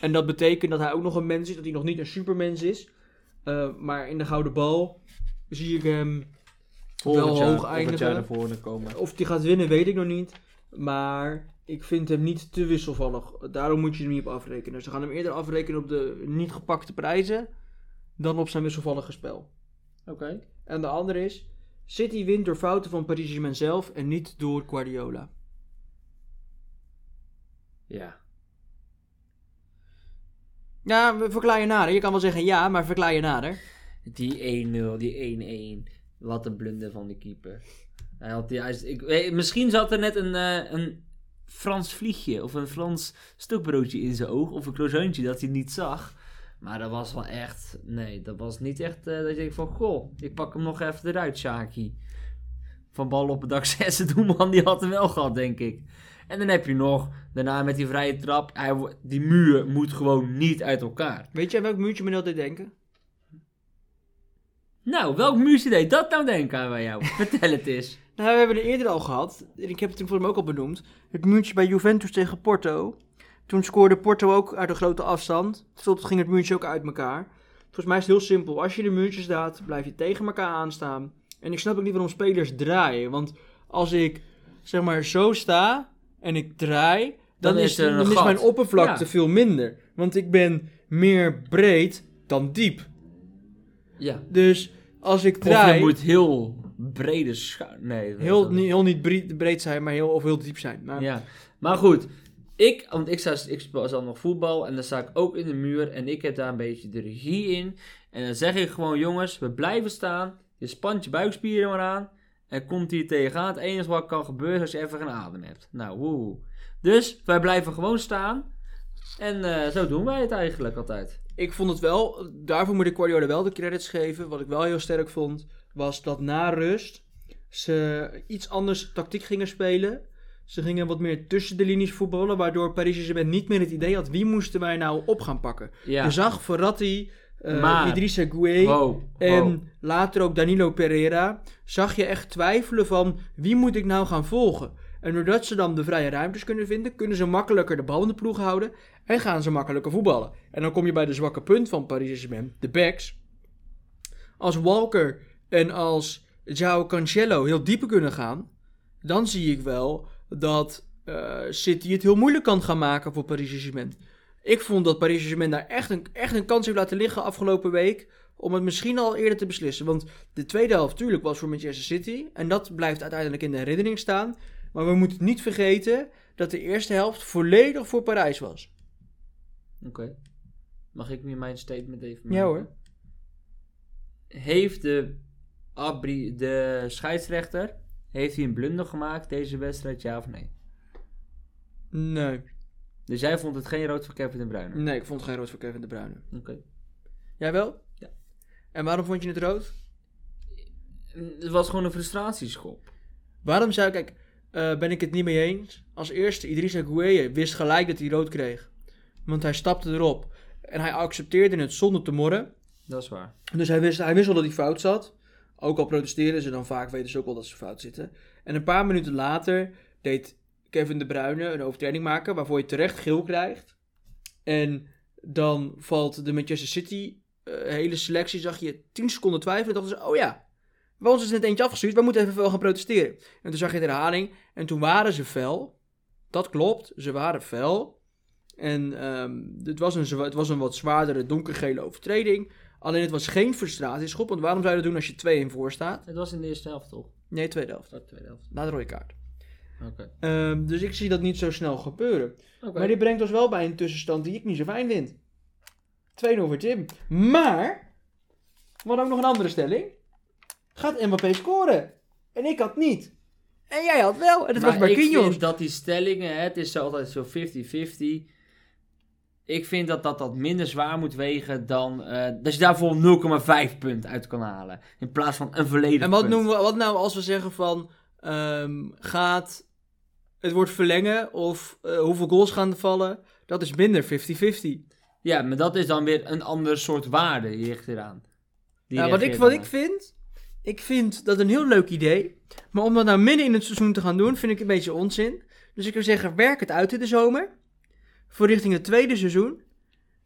[SPEAKER 1] En dat betekent dat hij ook nog een mens is. Dat hij nog niet een supermens is. Eh, maar in de gouden bal zie ik hem...
[SPEAKER 2] Volgend
[SPEAKER 1] Wel
[SPEAKER 2] jaar-
[SPEAKER 1] hoog
[SPEAKER 2] volgend jaar
[SPEAKER 1] eindigen.
[SPEAKER 2] naar voren komen.
[SPEAKER 1] Of die gaat winnen, weet ik nog niet. Maar ik vind hem niet te wisselvallig. Daarom moet je hem niet op afrekenen. Ze gaan hem eerder afrekenen op de niet gepakte prijzen dan op zijn wisselvallige spel.
[SPEAKER 2] Oké.
[SPEAKER 1] En de andere is, City wint door fouten van Paris Saint-Germain zelf en niet door Guardiola.
[SPEAKER 2] Ja.
[SPEAKER 1] Ja, we- verklaar je nader. Je kan wel zeggen ja, maar verklaar je nader.
[SPEAKER 2] Die 1-0, die 1-1. Wat een blunder van de keeper. Hij had juist, ik, weet- misschien zat er net een, eh, een Frans vliegje of een Frans stokbroodje in zijn oog. Of een croissantje dat hij niet zag. Maar dat was wel echt... Nee, dat was niet echt eh, dat je denkt van... Goh, ik pak hem nog even eruit, Shaki. Van bal op het dak [LAUGHS] 6, de doelman die had hem wel gehad, denk ik. En dan heb je nog, daarna met die vrije trap... Hij, wo- die muur moet gewoon niet uit elkaar.
[SPEAKER 1] Weet je aan welk muurtje me altijd denken?
[SPEAKER 2] Nou, welk muurtje deed dat nou denken aan bij [LAUGHS] jou? Vertel het eens.
[SPEAKER 1] Nou, we hebben het eerder al gehad. en Ik heb het toen voor hem ook al benoemd. Het muurtje bij Juventus tegen Porto. Toen scoorde Porto ook uit een grote afstand. Tot ging het muurtje ook uit elkaar. Volgens mij is het heel simpel. Als je in een muurtje staat, blijf je tegen elkaar aanstaan. En ik snap ook niet waarom spelers draaien. Want als ik zeg maar zo sta en ik draai, dan,
[SPEAKER 2] Dan
[SPEAKER 1] is,
[SPEAKER 2] is er een
[SPEAKER 1] dan is
[SPEAKER 2] gat.
[SPEAKER 1] mijn oppervlakte
[SPEAKER 2] Ja.
[SPEAKER 1] veel minder. Want ik ben meer breed dan diep.
[SPEAKER 2] Ja.
[SPEAKER 1] Dus als ik
[SPEAKER 2] Of
[SPEAKER 1] draai.
[SPEAKER 2] je moet heel brede schuin... Nee. dat is
[SPEAKER 1] Heel,
[SPEAKER 2] dan-
[SPEAKER 1] niet- heel niet bre- breed zijn, maar heel, of heel diep zijn. Maar
[SPEAKER 2] Ja. Maar goed, ik... Want ik, sta, ik speel dan nog voetbal en dan sta ik ook in de muur. En ik heb daar een beetje de regie in. En dan zeg ik gewoon, jongens, we blijven staan. Je spant je buikspieren maar aan. En komt hier tegenaan. Het enige wat kan gebeuren is als je even geen adem hebt. Nou, woe. Dus, wij blijven gewoon staan. En eh, zo doen wij het eigenlijk altijd.
[SPEAKER 1] Ik vond het wel, daarvoor moet ik Guardiola wel de credits geven. Wat ik wel heel sterk vond, was dat na rust ze iets anders tactiek gingen spelen. Ze gingen wat meer tussen de linies voetballen, waardoor Paris Saint-Germain niet meer het idee had wie moesten wij nou op gaan pakken.
[SPEAKER 2] Ja.
[SPEAKER 1] Je zag Verratti, eh
[SPEAKER 2] Maar-
[SPEAKER 1] Idrissa Gueye
[SPEAKER 2] Wow,
[SPEAKER 1] en
[SPEAKER 2] wow.
[SPEAKER 1] later ook Danilo Pereira, zag je echt twijfelen van wie moet ik nou gaan volgen. En doordat ze dan de vrije ruimtes kunnen vinden, kunnen ze makkelijker de bal in de ploeg houden en gaan ze makkelijker voetballen. En dan kom je bij de zwakke punt van Paris Saint-Germain, de backs. Als Walker en als João Cancelo heel dieper kunnen gaan, dan zie ik wel dat eh, City het heel moeilijk kan gaan maken voor Paris Saint-Germain. Ik vond dat Paris Saint-Germain daar echt een, echt een kans heeft laten liggen afgelopen week. Om het misschien al eerder te beslissen. Want de tweede helft, tuurlijk, was voor Manchester City. En dat blijft uiteindelijk in de herinnering staan. Maar we moeten niet vergeten dat de eerste helft volledig voor Parijs was.
[SPEAKER 2] Oké. Mag ik nu mijn statement even
[SPEAKER 1] Ja, hoor.
[SPEAKER 2] Heeft de, abri, de scheidsrechter heeft hij een blunder gemaakt deze wedstrijd, ja of nee?
[SPEAKER 1] Nee,
[SPEAKER 2] Dus jij vond het geen rood voor Kevin de Bruyne?
[SPEAKER 1] nee, ik vond geen rood voor Kevin De Bruyne.
[SPEAKER 2] Oké.
[SPEAKER 1] Jij wel?
[SPEAKER 2] Ja.
[SPEAKER 1] En waarom vond je het rood?
[SPEAKER 2] Het was gewoon een frustratieschop.
[SPEAKER 1] Waarom zou ik... Kijk, eh, ben ik het niet mee eens. Als eerste, Idrissa Gueye wist gelijk dat hij rood kreeg. Want hij stapte erop. En hij accepteerde het zonder te morren.
[SPEAKER 2] Dat is waar.
[SPEAKER 1] Dus hij wist, hij wist al dat hij fout zat. Ook al protesteren ze dan vaak, weten ze ook wel dat ze fout zitten. En een paar minuten later deed Kevin de Bruyne een overtreding maken waarvoor je terecht geel krijgt. En dan valt de Manchester City eh, hele selectie, zag je 10 seconden twijfelen. En dachten ze, oh ja, bij ons is net eentje afgestuurd, wij moeten even wel gaan protesteren. En toen zag je de herhaling en toen waren ze fel. Dat klopt, ze waren fel. En ehm, het, was een, zwa- het was een wat zwaardere donkergele overtreding. Alleen het was geen frustratieschop, want waarom zou je dat doen als je 2-1 voor staat?
[SPEAKER 2] Het was in de eerste helft, toch?
[SPEAKER 1] Nee, tweede helft.
[SPEAKER 2] Oh, tweede helft.
[SPEAKER 1] Na de rode kaart.
[SPEAKER 2] Oké.
[SPEAKER 1] Ehm, dus ik zie dat niet zo snel gebeuren.
[SPEAKER 2] Oké.
[SPEAKER 1] Maar dit brengt ons wel bij een tussenstand die ik niet zo fijn vind. 2-0 voor Tim. Maar, we hadden ook nog een andere stelling. Gaat Mbappé scoren? En ik had niet. En jij had wel. En het was
[SPEAKER 2] maar ik
[SPEAKER 1] Marquinhos.
[SPEAKER 2] vind dat die stellingen, hè, het is zo altijd zo 50-50. Ik vind dat, dat dat minder zwaar moet wegen dan... eh, dat je daar voor 0,5 punt uit kan halen. In plaats van een volledig
[SPEAKER 1] En wat,
[SPEAKER 2] punt.
[SPEAKER 1] noemen we, wat nou als we zeggen van, ehm, gaat het wordt verlengen of eh, hoeveel goals gaan er vallen? Dat is minder 50-50.
[SPEAKER 2] Ja, maar dat is dan weer een ander soort waarde die ligt eraan. Die
[SPEAKER 1] Ja, Nou, wat ik,
[SPEAKER 2] reageert
[SPEAKER 1] wat ik
[SPEAKER 2] eraan.
[SPEAKER 1] vind, ik vind dat een heel leuk idee. Maar om dat nou midden in het seizoen te gaan doen, vind ik een beetje onzin. Dus ik zou zeggen, werk het uit in de zomer. Voor richting het tweede seizoen.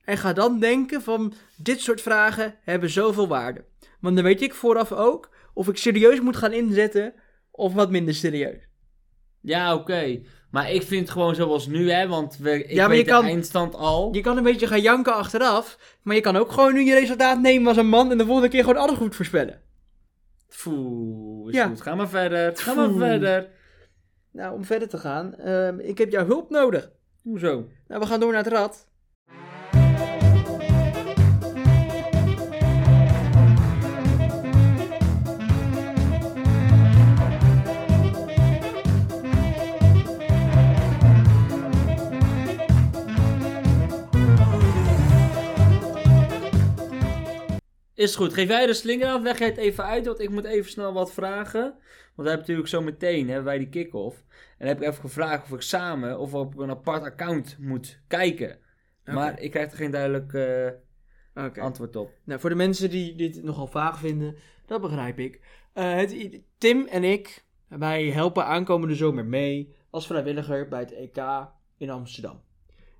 [SPEAKER 1] En ga dan denken van, dit soort vragen hebben zoveel waarde. Want dan weet ik vooraf ook of ik serieus moet gaan inzetten of wat minder serieus.
[SPEAKER 2] Ja, oké. Maar ik vind het gewoon zoals nu, hè. Want we, ik
[SPEAKER 1] Ja, maar
[SPEAKER 2] weet
[SPEAKER 1] je
[SPEAKER 2] de
[SPEAKER 1] kan-
[SPEAKER 2] eindstand al.
[SPEAKER 1] Je kan een beetje gaan janken achteraf. Maar je kan ook gewoon nu je resultaat nemen als een man en de volgende keer gewoon alles goed voorspellen.
[SPEAKER 2] Foe, is
[SPEAKER 1] Ja.
[SPEAKER 2] goed. Ga maar verder. Ga
[SPEAKER 1] Foe.
[SPEAKER 2] maar verder.
[SPEAKER 1] Nou, om verder te gaan. ehm, ik heb jouw hulp nodig.
[SPEAKER 2] Hoezo?
[SPEAKER 1] Nou, we gaan door naar het rad.
[SPEAKER 2] Is goed. Geef jij de slinger af. Leg jij het even uit. Want ik moet even snel wat vragen. Want we hebben natuurlijk zo meteen hebben wij die kick-off. En dan heb ik even gevraagd of ik samen of op een apart account moet kijken. Maar ik krijg er geen duidelijk eh,
[SPEAKER 1] Oké.
[SPEAKER 2] antwoord op.
[SPEAKER 1] Nou, voor de mensen die dit nogal vaag vinden, dat begrijp ik. Eh, het, i- Tim en ik, wij helpen aankomende zomer mee als vrijwilliger bij het EK in Amsterdam.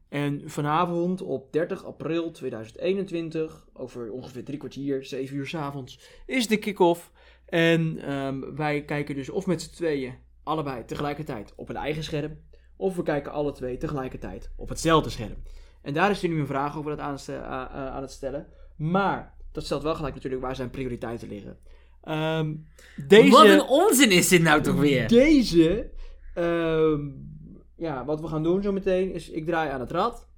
[SPEAKER 1] En vanavond op 30 april 2021, over ongeveer drie kwartier, zeven uur 's avonds, is de kick-off. En ehm, wij kijken dus of met z'n tweeën allebei tegelijkertijd op een eigen scherm, of we kijken alle twee tegelijkertijd op hetzelfde scherm. En daar is er nu een vraag over dat aanste- a- a- aan het stellen. Maar dat stelt wel gelijk natuurlijk waar zijn prioriteiten liggen. Ehm, deze,
[SPEAKER 2] Wat een onzin is dit nou toch weer? [LAUGHS]
[SPEAKER 1] Deze, ehm, ja, wat we gaan doen zometeen is, ik draai aan het rad.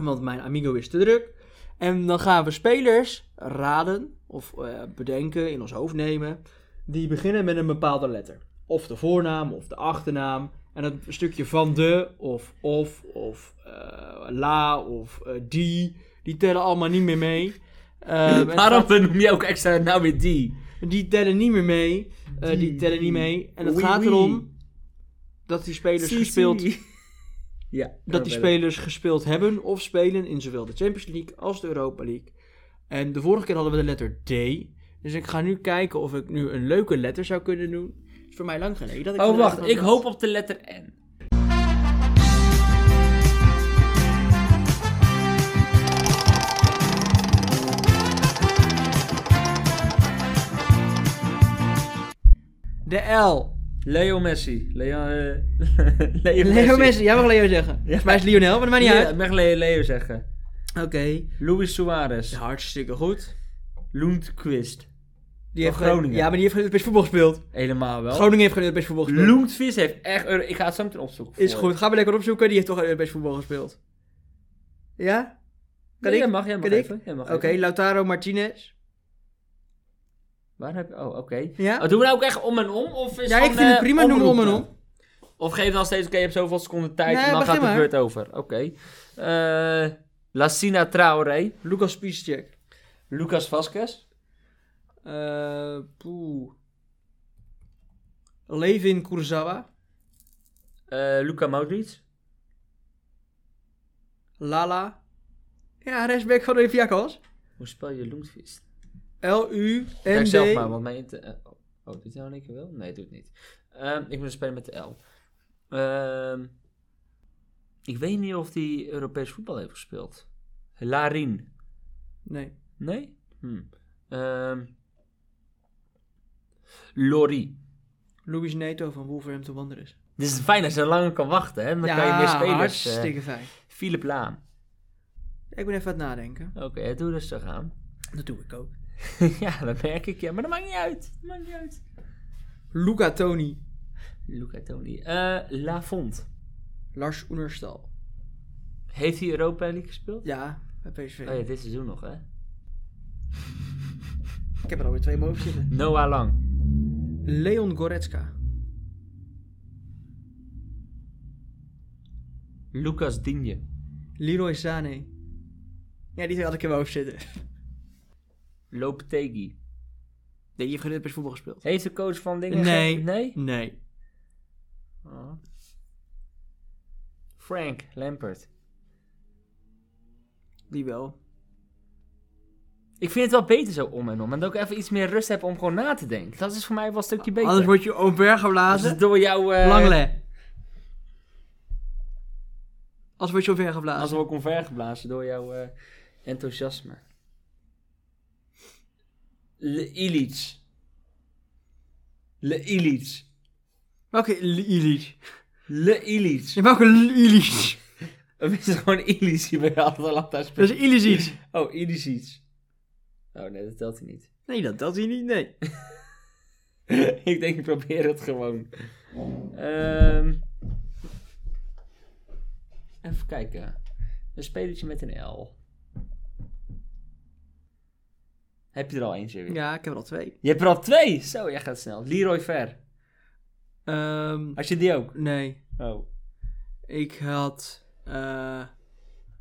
[SPEAKER 1] Want mijn amigo is te druk. En dan gaan we spelers raden of eh, bedenken, in ons hoofd nemen, die beginnen met een bepaalde letter. Of de voornaam of de achternaam. En dat stukje van de of of of eh, la of eh, die, die tellen allemaal niet meer mee. Ehm, en het
[SPEAKER 2] [LAUGHS] Waarom noem je ook extra nou weer die?
[SPEAKER 1] die tellen niet meer mee. Eh, die,
[SPEAKER 2] Die-
[SPEAKER 1] tellen niet mee. En het
[SPEAKER 2] Oei,
[SPEAKER 1] gaat
[SPEAKER 2] oei.
[SPEAKER 1] erom dat die spelers gespeeld,
[SPEAKER 2] [LAUGHS] Ja,
[SPEAKER 1] dat die spelers gespeeld hebben of spelen in zowel de Champions League als de Europa League. En de vorige keer hadden we de letter D. Dus ik ga nu kijken of ik nu een leuke letter zou kunnen doen. is voor mij lang geleden. Dat ik
[SPEAKER 2] Oh,
[SPEAKER 1] een
[SPEAKER 2] wacht.
[SPEAKER 1] letter
[SPEAKER 2] Ik
[SPEAKER 1] had.
[SPEAKER 2] hoop op de letter N.
[SPEAKER 1] De L.
[SPEAKER 2] Leo Messi. Leo, eh, [LAUGHS] Leo
[SPEAKER 1] Leo Messi. Jij mag Leo zeggen. Volgens mij is het Lionel, maar dat maakt niet
[SPEAKER 2] Ja,
[SPEAKER 1] uit.
[SPEAKER 2] ik mag Leo, Leo zeggen.
[SPEAKER 1] Oké.
[SPEAKER 2] Luis Suarez.
[SPEAKER 1] Ja, Hartstikke goed.
[SPEAKER 2] Lundqvist.
[SPEAKER 1] Die
[SPEAKER 2] Van Groningen.
[SPEAKER 1] Ja, maar die heeft geen Europees voetbal gespeeld.
[SPEAKER 2] Helemaal wel.
[SPEAKER 1] Groningen heeft geen Europees voetbal gespeeld.
[SPEAKER 2] Lundqvist heeft echt... Euro- Ik ga het zo meteen opzoeken. voor
[SPEAKER 1] Is
[SPEAKER 2] je.
[SPEAKER 1] goed, ga maar lekker opzoeken. Die heeft toch Europees voetbal gespeeld. Ja? Kan
[SPEAKER 2] Nee,
[SPEAKER 1] ik?
[SPEAKER 2] jij mag, jij mag
[SPEAKER 1] Kan ik?
[SPEAKER 2] even. Jij mag
[SPEAKER 1] Oké,
[SPEAKER 2] even.
[SPEAKER 1] Lautaro Martinez.
[SPEAKER 2] Waar heb je... Oh, oké.
[SPEAKER 1] Ja?
[SPEAKER 2] Oh, doen we nou ook echt om en om? Of is
[SPEAKER 1] ja, ik
[SPEAKER 2] van,
[SPEAKER 1] vind
[SPEAKER 2] eh,
[SPEAKER 1] het prima, noem hem om en
[SPEAKER 2] omroepen?
[SPEAKER 1] om.
[SPEAKER 2] Of geef dan steeds, oké, je hebt zoveel seconden tijd
[SPEAKER 1] Nee,
[SPEAKER 2] en dan
[SPEAKER 1] begin
[SPEAKER 2] gaat de
[SPEAKER 1] maar.
[SPEAKER 2] beurt over. Oké. Eh Lassina Traoré.
[SPEAKER 1] Lucas Piszczek.
[SPEAKER 2] Lucas Vasquez.
[SPEAKER 1] Eh poeh. Levin Kurzawa.
[SPEAKER 2] eh Luca Modric.
[SPEAKER 1] Lala. Ja, rechtsback van Olympiakos.
[SPEAKER 2] Hoe spel je Loentvist? Kijk zelf maar,
[SPEAKER 1] L-U-N-D.
[SPEAKER 2] want mijn... inter- eh, oh, oh, doet hij nou in één keer wel? Nee, doet het niet. Ehm, ik moet spelen met de L. Ehm, ik weet niet of hij Europees voetbal heeft gespeeld. Larin.
[SPEAKER 1] Nee.
[SPEAKER 2] Nee? Hm. Ehm, Lori.
[SPEAKER 1] Luis Neto van Wolverhampton Wanderers.
[SPEAKER 2] Dit is fijn als je langer kan wachten, hè? Dan
[SPEAKER 1] ja,
[SPEAKER 2] kan je meer spelers. eh,
[SPEAKER 1] hartstikke fijn.
[SPEAKER 2] Philip Laan.
[SPEAKER 1] Ik ben even aan het nadenken.
[SPEAKER 2] Oké, doe rustig aan. [LAUGHS]
[SPEAKER 1] Dat doe ik ook.
[SPEAKER 2] ja, dat merk ik, ja. Maar dat maakt niet uit. Dat maakt niet uit.
[SPEAKER 1] Luca Toni.
[SPEAKER 2] Luca Toni. Eh Lafont.
[SPEAKER 1] Lars Oenerstal.
[SPEAKER 2] Heeft hij Europa League gespeeld?
[SPEAKER 1] Ja, bij PSV.
[SPEAKER 2] Oh ja, dit seizoen nog, hè?
[SPEAKER 1] Ik heb er alweer twee boven zitten.
[SPEAKER 2] Noah Lang.
[SPEAKER 1] Leon Goretzka.
[SPEAKER 2] Lucas Digne.
[SPEAKER 1] Leroy Sané. Ja, die twee had ik in mijn hoofd zitten.
[SPEAKER 2] Looptegi.
[SPEAKER 1] Nee, je hebt geen Europees voetbal gespeeld.
[SPEAKER 2] Heeft de coach van dingen...
[SPEAKER 1] Nee.
[SPEAKER 2] ge- Nee?
[SPEAKER 1] Nee.
[SPEAKER 2] Oh. Frank Lampert.
[SPEAKER 1] Die wel.
[SPEAKER 2] Ik vind het wel beter zo om en om. En dat ik ook even iets meer rust heb om gewoon na te denken. Dat is voor mij wel een stukje beter.
[SPEAKER 1] Anders word je omver
[SPEAKER 2] Dat is
[SPEAKER 1] geblazen.
[SPEAKER 2] door jouw... eh,
[SPEAKER 1] Langle. Als word je omver geblazen.
[SPEAKER 2] Als we ook omvergeblazen door jouw eh, enthousiasme. Le Illich. Le Illich.
[SPEAKER 1] Welke Illich?
[SPEAKER 2] Le Illich.
[SPEAKER 1] In welke Illich?
[SPEAKER 2] Of is het gewoon Illich die bij Atalanta
[SPEAKER 1] Dat [LAUGHS]
[SPEAKER 2] speelt?
[SPEAKER 1] is Illich iets.
[SPEAKER 2] Oh, Illich iets. Oh nee, dat telt hij niet. [LAUGHS]
[SPEAKER 1] Nee, dat, dat hij niet, nee.
[SPEAKER 2] ik denk, ik probeer het gewoon. Ehm, even kijken. Een spelertje met een L. Heb je er al eentje weer?
[SPEAKER 1] Ja, ik heb er al twee.
[SPEAKER 2] Je hebt er al twee! Zo, jij gaat snel. Leroy Ver.
[SPEAKER 1] Ehm,
[SPEAKER 2] Had je die ook?
[SPEAKER 1] nee,
[SPEAKER 2] Oh.
[SPEAKER 1] ik had... eh,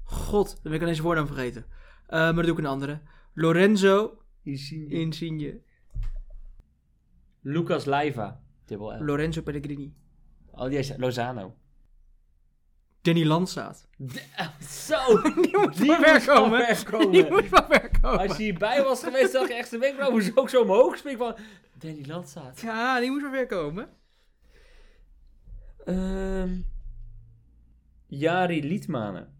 [SPEAKER 1] God, dan ben ik ineens de voornaam vergeten. Eh, maar dan doe ik een andere. Lorenzo Insigne.
[SPEAKER 2] Lucas Leiva. Dubbel L.
[SPEAKER 1] Lorenzo Pellegrini.
[SPEAKER 2] oh, die is Lozano.
[SPEAKER 1] Danny Landsaat.
[SPEAKER 2] [LAUGHS]
[SPEAKER 1] [LAUGHS]
[SPEAKER 2] Zo! Die moet
[SPEAKER 1] van ver komen. Die moet van ver komen.
[SPEAKER 2] Als je hierbij was geweest, dacht ik echt zijn wenkbrauw moest ook zo omhoog springen van... Danny Landsaat.
[SPEAKER 1] Ja, die moet van ver komen.
[SPEAKER 2] Ehm Jari Liedmanen.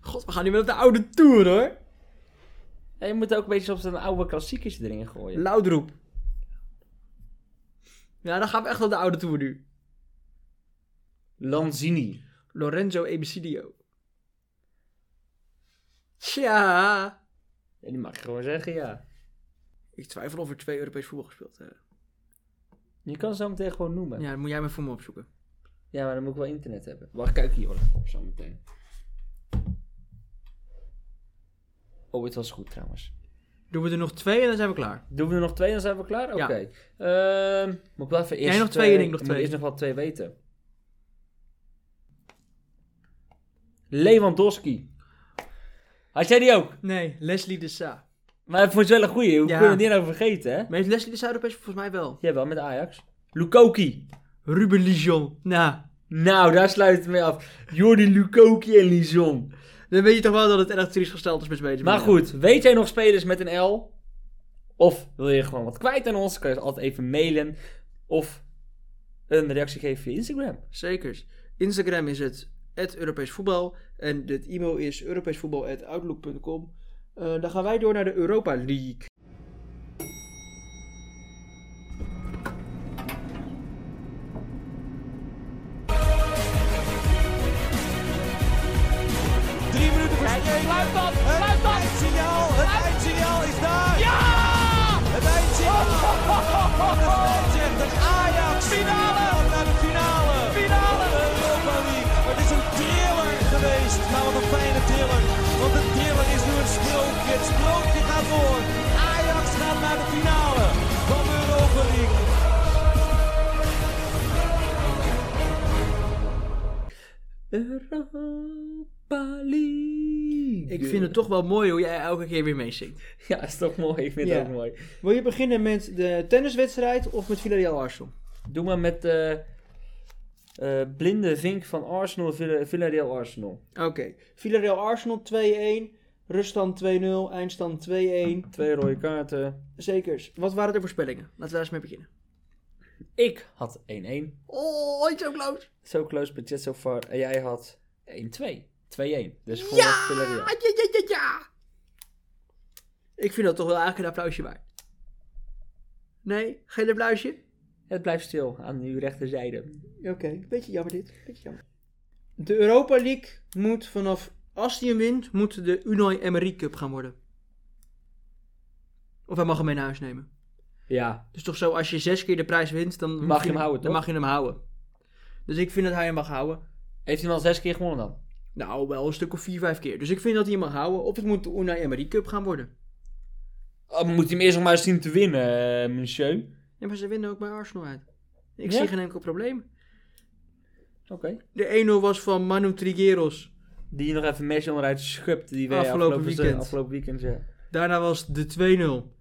[SPEAKER 1] God, we gaan nu weer op de oude tour hoor.
[SPEAKER 2] Ja, je moet ook een beetje op zijn oude klassiekers erin gooien.
[SPEAKER 1] Laudroep. Ja, dan gaan we echt op de oude tour nu.
[SPEAKER 2] Lanzini.
[SPEAKER 1] Lorenzo Ebicidio. Tja.
[SPEAKER 2] Ja, die mag je gewoon zeggen, ja.
[SPEAKER 1] Ik twijfel of er twee Europees voetbal gespeeld hebben.
[SPEAKER 2] Je kan ze zo meteen gewoon noemen. Ja.
[SPEAKER 1] Ja, dan moet jij me voor me opzoeken.
[SPEAKER 2] maar dan moet ik wel internet hebben. Wacht, kijk hier hoor, op zo meteen. Oh, het was goed trouwens.
[SPEAKER 1] Doen we er nog twee en dan zijn we klaar.
[SPEAKER 2] Doen we er nog twee, dan zijn we klaar? Oké.
[SPEAKER 1] Ja.
[SPEAKER 2] Ehm, moet ik wel even eerst... eh,
[SPEAKER 1] nog twee en ik nog
[SPEAKER 2] moet
[SPEAKER 1] twee.
[SPEAKER 2] eerst nog wel twee weten. Lewandowski. Had jij die ook?
[SPEAKER 1] Nee, Leslie de Sa.
[SPEAKER 2] Maar hij vond het wel een goeie. Hoe
[SPEAKER 1] Ja.
[SPEAKER 2] kunnen we die nou vergeten, hè?
[SPEAKER 1] Maar heeft Leslie de Sa Europees volgens mij wel?
[SPEAKER 2] Jawel, met Ajax. Lukoki.
[SPEAKER 1] Ruben Lijon. Nou,
[SPEAKER 2] Nou, daar sluit het mee af. Jordi Lukoki en Lison.
[SPEAKER 1] dan weet je toch wel dat het erg triest gesteld is met Smedes.
[SPEAKER 2] Maar goed, weet jij nog spelers met een L? Of wil je gewoon wat kwijt aan ons? Kan je altijd even mailen. Of een reactie geven via Instagram.
[SPEAKER 1] Zekers. Instagram is het Europees voetbal. En het e-mail is europeesvoetbal.outlook.com. Eh dan gaan wij door naar de Europa League.
[SPEAKER 4] Drie minuten voor Sluit dat, sluit dat. Het eindsignaal, het eindsignaal is daar. Ja! Oh, Het eindsignaal. De scheidsrechter Ajax. Finale. Naar de finale. Finale. Europa League. Het is een thriller geweest. Nou, wat een fijne thriller. Want de thriller is nu een sprookje. Het sprookje gaat door. Ajax gaat naar de finale van de Europa League.
[SPEAKER 2] Europa League.
[SPEAKER 1] Ik vind het toch wel mooi hoe jij elke keer weer meezingt.
[SPEAKER 2] Ja, is toch mooi. Ik vind
[SPEAKER 1] Ja.
[SPEAKER 2] het ook mooi.
[SPEAKER 1] Wil je beginnen met de tenniswedstrijd of met Villarreal Arsenal?
[SPEAKER 2] Doe maar met de blinde vink van Arsenal, Villa- Villarreal Arsenal.
[SPEAKER 1] Oké. Villarreal Arsenal 2-1. Ruststand 2-0. Eindstand 2-1.
[SPEAKER 2] Twee rode kaarten.
[SPEAKER 1] Zekers. Wat waren de voorspellingen? Laten we daar eens mee beginnen.
[SPEAKER 2] Ik had 1-1.
[SPEAKER 1] Oh, iets zo close.
[SPEAKER 2] So close, but yet so far. En jij had 1-2. 2-1. Dus voor Villarreal.
[SPEAKER 1] Ah, ja, ja, ja, ja. Ik vind dat toch wel eigenlijk een applausje waard. Nee, geen applausje?
[SPEAKER 2] Het blijft stil aan uw rechterzijde.
[SPEAKER 1] Oké, beetje jammer dit. Beetje jammer. De Europa League moet vanaf, als die hem wint, moet de Unai Emery Cup gaan worden. Of hij mag hem mee naar huis nemen.
[SPEAKER 2] Ja.
[SPEAKER 1] Dus toch zo, als je zes keer de prijs wint, dan
[SPEAKER 2] Mag je hem houden,
[SPEAKER 1] Dan
[SPEAKER 2] toch?
[SPEAKER 1] mag je hem houden. Dus ik vind dat hij hem mag houden.
[SPEAKER 2] Heeft hij hem al zes keer gewonnen dan?
[SPEAKER 1] Nou, wel een stuk of vier, vijf keer. Dus ik vind dat hij hem mag houden. Of het moet de Unai Emery Cup gaan worden.
[SPEAKER 2] Oh, maar moet hij hem eerst nog maar eens zien te winnen, eh, monsieur.
[SPEAKER 1] Ja, maar ze winnen ook bij Arsenal uit. Ik
[SPEAKER 2] Ja?
[SPEAKER 1] zie geen enkel probleem.
[SPEAKER 2] Oké.
[SPEAKER 1] De 1-0 was van Manu Trigueros.
[SPEAKER 2] Die nog even Messi onderuit schupt. Die wij
[SPEAKER 1] Afgelopen
[SPEAKER 2] afgelopen, weekend.
[SPEAKER 1] weekend.
[SPEAKER 2] afgelopen weekend, ja.
[SPEAKER 1] Daarna was de 2-0.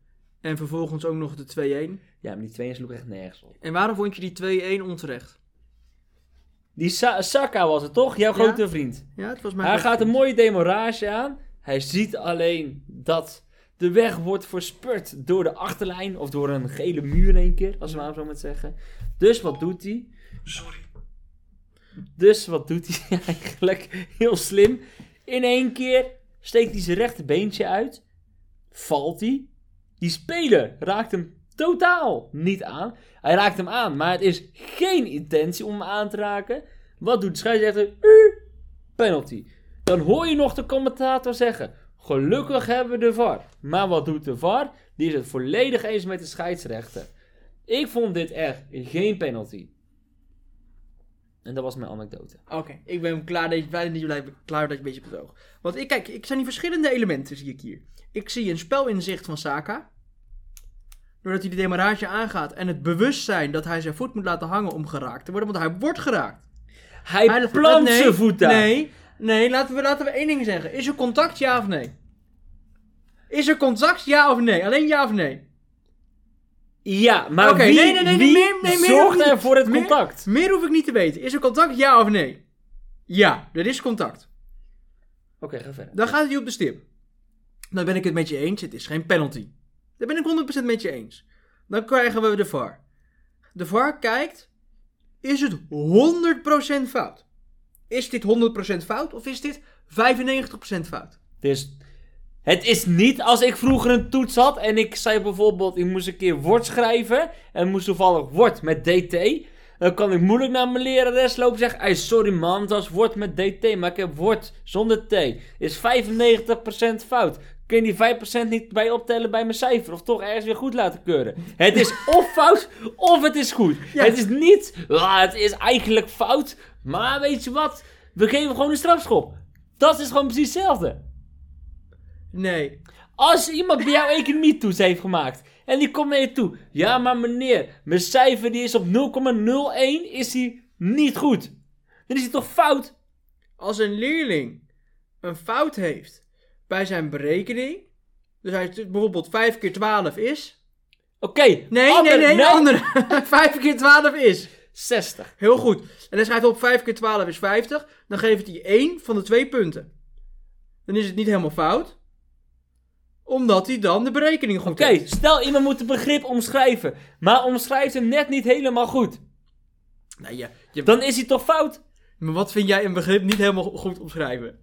[SPEAKER 1] En vervolgens ook nog de 2-1.
[SPEAKER 2] Ja, maar die twee sloeg echt nergens op.
[SPEAKER 1] En waarom vond je die 2-1 onterecht?
[SPEAKER 2] Die Sa- Saka was het toch? Jouw
[SPEAKER 1] Ja.
[SPEAKER 2] grote vriend.
[SPEAKER 1] Ja, het was maar...
[SPEAKER 2] Hij gaat een mooie demorage aan. Hij ziet alleen dat de weg wordt versperd door de achterlijn. Of door een gele muur in één keer, als we maar zo met zeggen. Dus wat doet hij? Sorry. Dus wat doet hij [LAUGHS] eigenlijk? Heel slim. In één keer steekt hij zijn rechterbeentje uit. Valt hij. Die speler raakt hem totaal niet aan. Hij raakt hem aan, maar het is geen intentie om hem aan te raken. Wat doet de scheidsrechter? U, penalty. Dan hoor je nog de commentator zeggen: Gelukkig hebben we de VAR. Maar wat doet de VAR? Die is het volledig eens met de scheidsrechter. Ik vond dit echt geen penalty. En dat was mijn anekdote.
[SPEAKER 1] Oké, ik ben klaar dat je, blij dat je, blij- klaar dat je een beetje betoog. Want ik kijk, ik zijn die verschillende elementen zie ik hier. Ik zie een spelinzicht van Saka. Doordat hij de demarage aangaat en het bewustzijn dat hij zijn voet moet laten hangen om geraakt te worden. Want hij wordt geraakt.
[SPEAKER 2] Hij, plant
[SPEAKER 1] nee,
[SPEAKER 2] zijn voet daar.
[SPEAKER 1] Nee, nee laten, we, laten we één ding zeggen. Is er contact ja of nee? Is er contact ja of nee? Alleen ja of nee?
[SPEAKER 2] Ja, maar
[SPEAKER 1] Oké,
[SPEAKER 2] wie,
[SPEAKER 1] nee, nee, nee,
[SPEAKER 2] wie
[SPEAKER 1] meer- nee, meer hoef
[SPEAKER 2] zorgt
[SPEAKER 1] ik
[SPEAKER 2] er
[SPEAKER 1] niet-
[SPEAKER 2] voor het
[SPEAKER 1] meer-
[SPEAKER 2] contact?
[SPEAKER 1] Meer hoef ik niet te weten. Is er contact ja of nee? Ja, er is contact.
[SPEAKER 2] Oké, ga verder.
[SPEAKER 1] Dan gaat hij op de stip. Dan ben ik het met je eens. Het is geen penalty. Daar ben ik 100% met je eens. Dan krijgen we de VAR. De VAR kijkt. Is het 100% fout? Is dit 100% fout of is dit 95% fout?
[SPEAKER 2] Dus het is niet als ik vroeger een toets had en ik zei bijvoorbeeld, ik moest een keer woord schrijven en moest toevallig woord met DT. Dan kan ik moeilijk naar mijn lerares lopen en zeggen, "Ey, sorry man, dat was woord met DT, maar ik heb woord zonder T. Is 95% fout. Kun je die 5% niet bij optellen bij mijn cijfer of toch ergens weer goed laten keuren? Het is of fout of het is goed.
[SPEAKER 1] Ja.
[SPEAKER 2] Het is niet, "Ah, het is eigenlijk fout, maar weet je wat? We geven gewoon een strafschop. Dat is gewoon precies hetzelfde.
[SPEAKER 1] Nee.
[SPEAKER 2] Als iemand bij jouw economietoets heeft gemaakt en die komt naar je toe. Ja, maar meneer, mijn cijfer die is op 0,01 is die niet goed. Dan is die toch fout?
[SPEAKER 1] Als een leerling een fout heeft bij zijn berekening. Dus hij t- bijvoorbeeld 5 keer 12 is.
[SPEAKER 2] Oké.
[SPEAKER 1] Nee,
[SPEAKER 2] ander-
[SPEAKER 1] nee, nee, de [LAUGHS] andere. 5 keer 12 is.
[SPEAKER 2] 60.
[SPEAKER 1] Heel goed. En hij schrijft op 5 keer 12 is 50. Dan geeft hij 1 van de 2 punten. Dan is het niet helemaal fout. Omdat hij dan de berekening goed
[SPEAKER 2] Oké,
[SPEAKER 1] heeft.
[SPEAKER 2] stel iemand moet het begrip omschrijven, maar omschrijft hem net niet helemaal goed.
[SPEAKER 1] Nou, ja, je-
[SPEAKER 2] Dan is hij toch fout?
[SPEAKER 1] Maar wat vind jij een begrip niet helemaal goed omschrijven?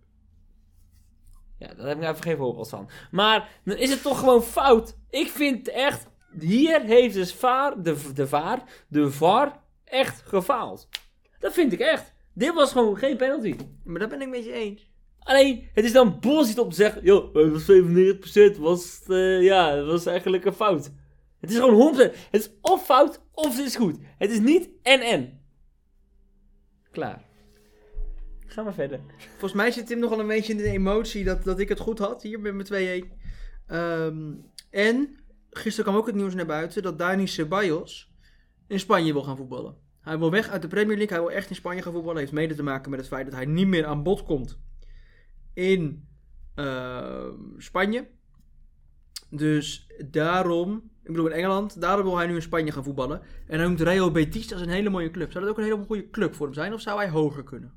[SPEAKER 2] Ja, daar heb ik nou even geen voorbeeld van. Maar dan is het toch gewoon fout. Ik vind echt, hier heeft dus vaar, de, de vaar, de VAR echt gefaald. Dat vind ik echt. Dit was gewoon geen penalty.
[SPEAKER 1] Maar dat ben ik met je eens.
[SPEAKER 2] Alleen, het is dan bullshit om te zeggen, joh, het was 97%, was, eh, ja, het was eigenlijk een fout. Het is gewoon 100%. Het is of fout, of het is goed. Het is niet en en. Klaar. Ga maar verder.
[SPEAKER 1] Volgens mij zit Tim nogal een beetje in de emotie dat, dat ik het goed had. Hier met mijn 2-1. Ehm, en gisteren kwam ook het nieuws naar buiten dat Dani Ceballos in Spanje wil gaan voetballen. Hij wil weg uit de Premier League. Hij wil echt in Spanje gaan voetballen. Heeft mede te maken met het feit dat hij niet meer aan bod komt in ehm, Spanje. Dus daarom, ik bedoel in Engeland, daarom wil hij nu in Spanje gaan voetballen. En hij noemt Real Betis als een hele mooie club. Zou dat ook een hele goede club voor hem zijn of zou hij hoger kunnen?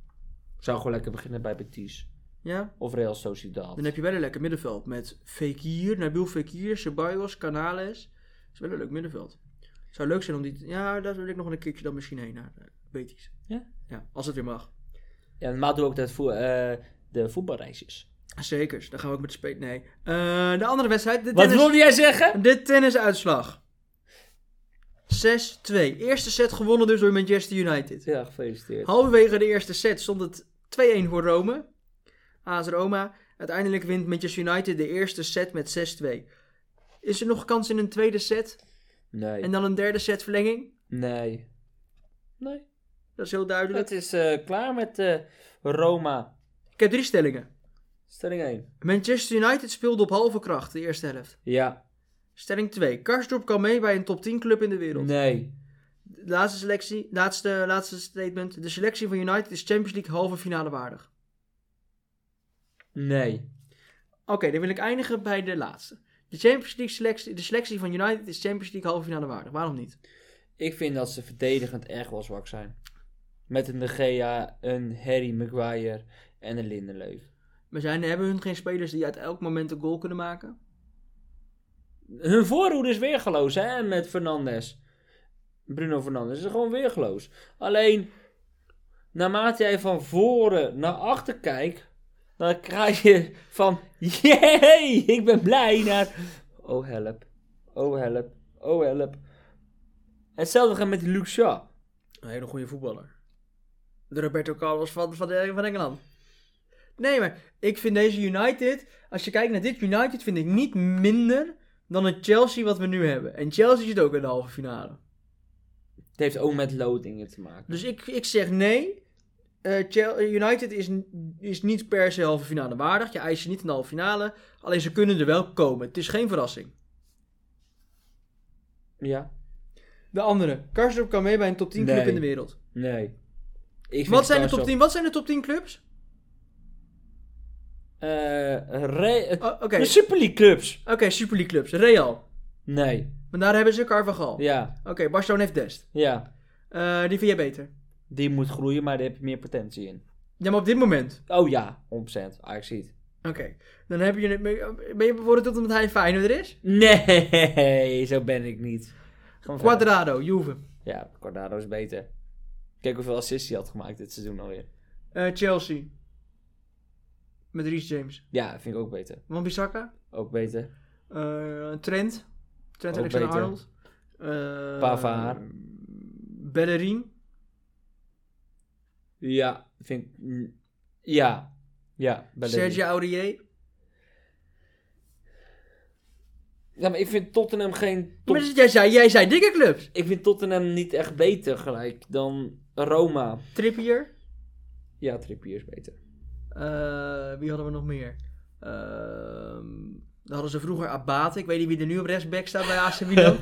[SPEAKER 2] Ik zou gewoon lekker beginnen bij Betis.
[SPEAKER 1] Ja,
[SPEAKER 2] Of Real Sociedad.
[SPEAKER 1] Dan heb je wel een lekker middenveld met Fekir, Nabil Fekir, Ceballos, Canales. Dat is wel een leuk middenveld. Zou leuk zijn om die... Ja, daar wil ik nog wel een keertje dan misschien heen naar eh, Betis.
[SPEAKER 2] Ja?
[SPEAKER 1] Ja, als het weer mag.
[SPEAKER 2] Ja, normaal doe ik dat voor eh, de voetbalreisjes.
[SPEAKER 1] Zeker, dan gaan we ook met de speet... Nee. Eh, de andere wedstrijd, de
[SPEAKER 2] Wat
[SPEAKER 1] tennis...
[SPEAKER 2] wilde jij zeggen?
[SPEAKER 1] De tennisuitslag. 6-2. Eerste set gewonnen dus door Manchester United.
[SPEAKER 2] Ja, gefeliciteerd.
[SPEAKER 1] Halverwege de eerste set stond het 2-1 voor Rome. AS Roma. Uiteindelijk wint Manchester United de eerste set met 6-2. Is er nog kans in een tweede set
[SPEAKER 2] Nee.
[SPEAKER 1] en dan een derde set verlenging?
[SPEAKER 2] Nee. Nee.
[SPEAKER 1] Dat is heel duidelijk.
[SPEAKER 2] Het is eh, klaar met eh, Roma.
[SPEAKER 1] Ik heb drie stellingen.
[SPEAKER 2] Stelling 1.
[SPEAKER 1] Manchester United speelde op halve kracht de eerste helft.
[SPEAKER 2] Ja.
[SPEAKER 1] Stelling 2. Karsdorp kan mee bij een top 10 club in de wereld.
[SPEAKER 2] Nee.
[SPEAKER 1] De Laatste, selectie, laatste, laatste statement. De selectie van United is Champions League halve finale waardig.
[SPEAKER 2] Nee.
[SPEAKER 1] Oké, dan wil ik eindigen bij de laatste. De Champions League selectie, de selectie van United is Champions League halve finale waardig. Waarom niet?
[SPEAKER 2] Ik vind dat ze verdedigend echt wel zwak zijn. Met een De Gea, een Harry Maguire en een Lindenleuf.
[SPEAKER 1] Maar zijn, hebben hun geen spelers die uit elk moment een goal kunnen maken?
[SPEAKER 2] Hun voorhoede is weergeloos, hè? Met Fernandes. Bruno Fernandes is gewoon weergeloos. Alleen, naarmate jij van voren naar achter kijkt, dan krijg je van, jee, ik ben blij, naar, oh help, oh help, oh help. Hetzelfde gaat met die Luke Shaw. eh,
[SPEAKER 1] Een hele goede voetballer. De Roberto Carlos van, van, van Engeland. Nee, maar ik vind deze United, als je kijkt naar dit United, vind ik niet minder dan het Chelsea wat we nu hebben. En Chelsea zit ook in de halve finale.
[SPEAKER 2] Het heeft ook met loadingen te maken.
[SPEAKER 1] Dus ik, ik zeg nee. Eh, Chel- United is, n- is niet per se halve finale waardig. Je eist ze niet in de halve finale. Alleen ze kunnen er wel komen. Het is geen verrassing.
[SPEAKER 2] Ja.
[SPEAKER 1] De andere. Karsdorp kan mee bij een top 10 club
[SPEAKER 2] Nee.
[SPEAKER 1] in de wereld.
[SPEAKER 2] Nee. Ik vind
[SPEAKER 1] Wat zijn, de
[SPEAKER 2] Karsdorp-
[SPEAKER 1] top 10, wat zijn de top 10 clubs?
[SPEAKER 2] Eh, re- eh,
[SPEAKER 1] Oh, Oké,
[SPEAKER 2] De Super League clubs.
[SPEAKER 1] Oké, Super League clubs. Real.
[SPEAKER 2] Nee.
[SPEAKER 1] Maar daar hebben ze Carvajal.
[SPEAKER 2] Ja.
[SPEAKER 1] Oké, Barcelona heeft Dest.
[SPEAKER 2] Ja.
[SPEAKER 1] Eh, die vind jij beter.
[SPEAKER 2] Die moet groeien, maar daar heb je meer potentie in.
[SPEAKER 1] Ja, maar op dit moment.
[SPEAKER 2] Oh ja, 100%. Ajax ziet.
[SPEAKER 1] Oké. Dan heb je... Ben je bijvoorbeeld tot omdat hij Feyenoord er is?
[SPEAKER 2] Nee, zo ben ik niet. Gaan we verder.
[SPEAKER 1] Quadrado, Juve.
[SPEAKER 2] Ja, Quadrado is beter. Kijk hoeveel assists hij had gemaakt dit seizoen alweer.
[SPEAKER 1] Eh, Chelsea. Met Reece James.
[SPEAKER 2] Ja, vind ik ook beter.
[SPEAKER 1] Wan-Bissaka.
[SPEAKER 2] Ook beter.
[SPEAKER 1] Eh, Trent. Trent
[SPEAKER 2] Ook
[SPEAKER 1] Alexander-Arnold. Eh,
[SPEAKER 2] Pavard.
[SPEAKER 1] Bellerin.
[SPEAKER 2] Ja, vind ik... mm, Ja. Ja, Bellerin.
[SPEAKER 1] Sergio Aurier.
[SPEAKER 2] Ja, maar ik vind Tottenham geen... top-
[SPEAKER 1] Maar dat is- jij, zei, jij zei dikke clubs.
[SPEAKER 2] Ik vind Tottenham niet echt beter gelijk dan Roma.
[SPEAKER 1] Trippier.
[SPEAKER 2] Ja, Trippier is
[SPEAKER 1] [LAUGHS]
[SPEAKER 2] beter.
[SPEAKER 1] Eh, wie hadden we nog meer? Ehm, dan hadden ze vroeger Abate. Ik weet niet wie er nu op rechtsback staat bij AC [LAUGHS] Milan.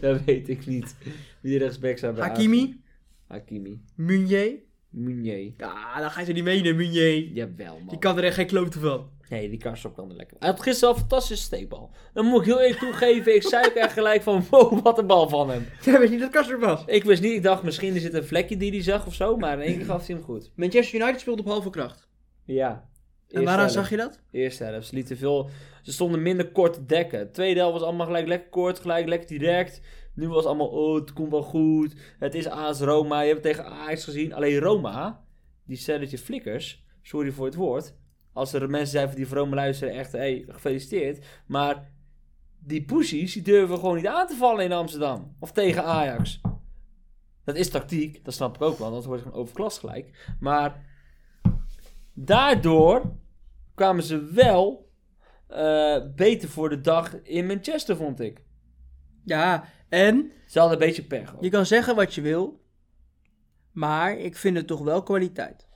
[SPEAKER 2] dat weet ik niet. Wie de rechtsback staat bij AZ.
[SPEAKER 1] Hakimi.
[SPEAKER 2] Hakimi.
[SPEAKER 1] Meunier.
[SPEAKER 2] Munier.
[SPEAKER 1] Ja, dan ga je ze niet menen, Meunier.
[SPEAKER 2] Jawel, man.
[SPEAKER 1] Die kan er echt geen klote van.
[SPEAKER 2] Nee, die Karstorp kan er lekker. Hij had gisteren al een fantastische steekbal. Dan moet ik heel eerlijk toegeven, ik zei ook echt gelijk van, wow, wat een bal van hem.
[SPEAKER 1] Ja, weet je dat Kaster was?
[SPEAKER 2] Ik wist niet, ik dacht misschien is het een vlekje die hij zag of zo, maar in één keer gaf hij hem goed.
[SPEAKER 1] Manchester United speelt op halve kracht.
[SPEAKER 2] Ja. eh,
[SPEAKER 1] En waaraan zag je dat?
[SPEAKER 2] Eerste helft, ze lieten veel, ze stonden minder kort te dekken. Tweede helft was allemaal gelijk lekker kort, gelijk lekker direct. Nu was allemaal, oh, het komt wel goed. Het is AS Roma, je hebt het tegen Ajax gezien. Alleen Roma, die stelletje flikkers, sorry voor het woord. Als er mensen zijn die voor Roma luisteren, echt, hey, gefeliciteerd. Maar die poesies, die durven gewoon niet aan te vallen in Amsterdam. Of tegen Ajax. Dat is tactiek, dat snap ik ook wel, want dat wordt gewoon overklas gelijk. Maar daardoor kwamen ze wel eh, beter voor de dag in Manchester, vond ik.
[SPEAKER 1] Ja, en
[SPEAKER 2] Ze hadden een beetje pech. ook.
[SPEAKER 1] Je kan zeggen wat je wil, maar ik vind het toch wel kwaliteit.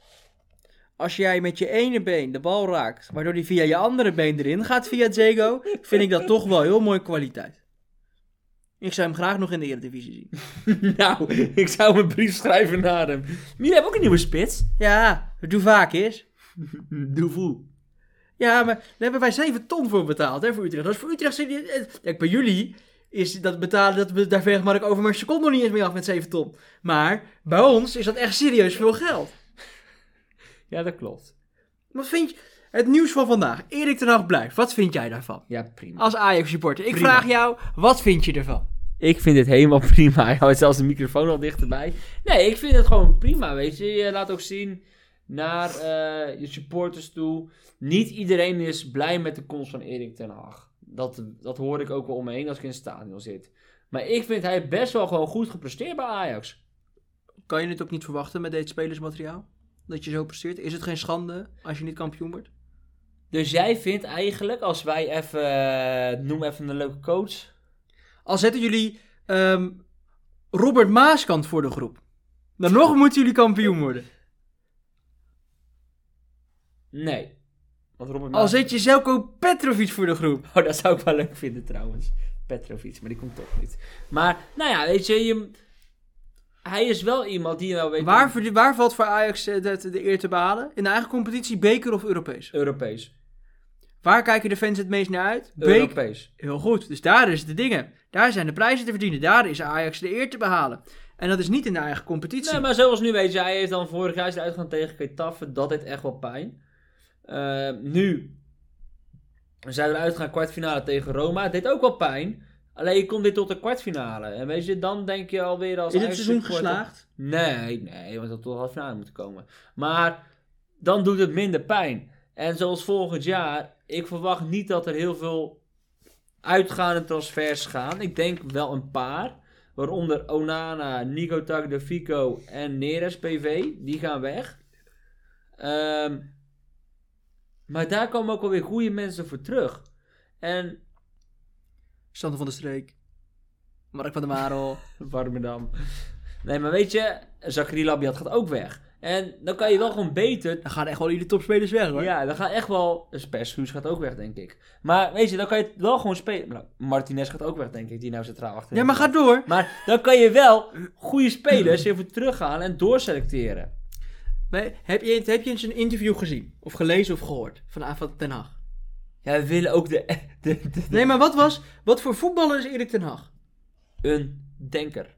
[SPEAKER 1] Als jij met je ene been de bal raakt, waardoor die via je andere been erin gaat via Zego, vind ik dat toch wel heel mooie kwaliteit. Ik zou hem graag nog in de Eredivisie zien.
[SPEAKER 2] [LAUGHS] nou, ik zou een brief schrijven naar hem. Maar jullie hebben ook een nieuwe spits.
[SPEAKER 1] Ja, doe vaak is.
[SPEAKER 2] Doevoe.
[SPEAKER 1] Ja, maar daar hebben wij 7 ton voor betaald, hè, voor Utrecht. Als voor Utrecht zit je- eh, Kijk, bij jullie is dat betalen, dat, we- daar veeg maar ik over mijn seconde nog niet eens mee af met 7 ton. Maar bij ons is dat echt serieus veel geld.
[SPEAKER 2] Ja, dat klopt.
[SPEAKER 1] Wat vind je? Het nieuws van vandaag. Erik ten Hag blijft. Wat vind jij daarvan?
[SPEAKER 2] Ja, prima.
[SPEAKER 1] Als Ajax supporter. Ik
[SPEAKER 2] Prima.
[SPEAKER 1] vraag jou, wat vind je ervan?
[SPEAKER 2] Ik vind dit helemaal [LAUGHS] prima. Hij houdt zelfs de microfoon al dichterbij. Nee, ik vind het gewoon prima, weet je. Je laat ook zien naar eh, je supporters toe. Niet iedereen is blij met de komst van Erik ten Hag. Dat, dat hoor ik ook wel om me heen als ik in het stadion zit. Maar ik vind hij best wel gewoon goed gepresteerd bij Ajax.
[SPEAKER 1] Kan je het ook niet verwachten met dit spelersmateriaal? Dat je zo presteert? Is het geen schande als je niet kampioen wordt?
[SPEAKER 2] Dus jij vindt eigenlijk, als wij even... eh, noem even een leuke coach.
[SPEAKER 1] Al zetten jullie ehm, Robert Maaskant voor de groep. Dan nog moeten jullie kampioen worden.
[SPEAKER 2] Nee. Want Robert
[SPEAKER 1] Al
[SPEAKER 2] Maas-
[SPEAKER 1] zet je Zelko Petrovic voor de groep.
[SPEAKER 2] [LAUGHS] Oh, dat zou ik wel leuk vinden trouwens. Petrovic, maar die komt toch niet. Maar, nou ja, weet je, je- hij is wel iemand die nou weet...
[SPEAKER 1] Waar, verd- waar valt voor Ajax eh, dat- de, eer te behalen? In de eigen competitie, beker of Europees?
[SPEAKER 2] Europees.
[SPEAKER 1] Waar kijken de fans het meest naar uit? Beker
[SPEAKER 2] Europees.
[SPEAKER 1] Heel goed. Dus daar is de dingen. Daar zijn de prijzen te verdienen. Daar is Ajax de eer te behalen. En dat is niet in de eigen competitie.
[SPEAKER 2] Nee, maar zoals nu weet je, hij heeft dan vorig jaar is hij uitgegaan tegen Getafe. Dat deed echt wel pijn. Eh, nu zijn we eruit gaan kwartfinale tegen Roma. Het deed ook wel pijn. Alleen je komt dit tot de kwartfinale. En weet je, dan denk je alweer als
[SPEAKER 1] is het
[SPEAKER 2] Ajax
[SPEAKER 1] seizoen
[SPEAKER 2] supporter-
[SPEAKER 1] geslaagd?
[SPEAKER 2] Nee, nee, want dat toch half finale moeten komen. Maar dan doet het minder pijn. En zoals volgend jaar, ik verwacht niet dat er heel veel uitgaande transfers gaan. Ik denk wel een paar. Waaronder Onana, Nico Tagliafico en Neres PV. Die gaan weg. Ehm, Maar daar komen ook alweer goede mensen voor terug. En
[SPEAKER 1] Sander van der Streek. Mark van der Marel.
[SPEAKER 2] Warmerdam. Nee, maar weet je, Zachary Labiat gaat ook weg. En dan kan je wel gewoon beter...
[SPEAKER 1] Dan gaan echt wel jullie topspelers weg hoor.
[SPEAKER 2] Ja, dan gaat echt wel... Spershuus gaat ook weg, denk ik. Maar weet je, dan kan je wel gewoon spelen... Nou, Martinez gaat ook weg, denk ik, die nou centraal achter.
[SPEAKER 1] Ja, maar ga door.
[SPEAKER 2] Maar dan kan je wel goede spelers even terughalen en doorselecteren.
[SPEAKER 1] Maar heb, je, heb je eens een interview gezien? Of gelezen of gehoord? Van Avat ten Hag.
[SPEAKER 2] Ja, we willen ook de, [LAUGHS] de- de-
[SPEAKER 1] Nee, maar wat was... Wat voor voetballer is Erik ten Hag?
[SPEAKER 2] een denker.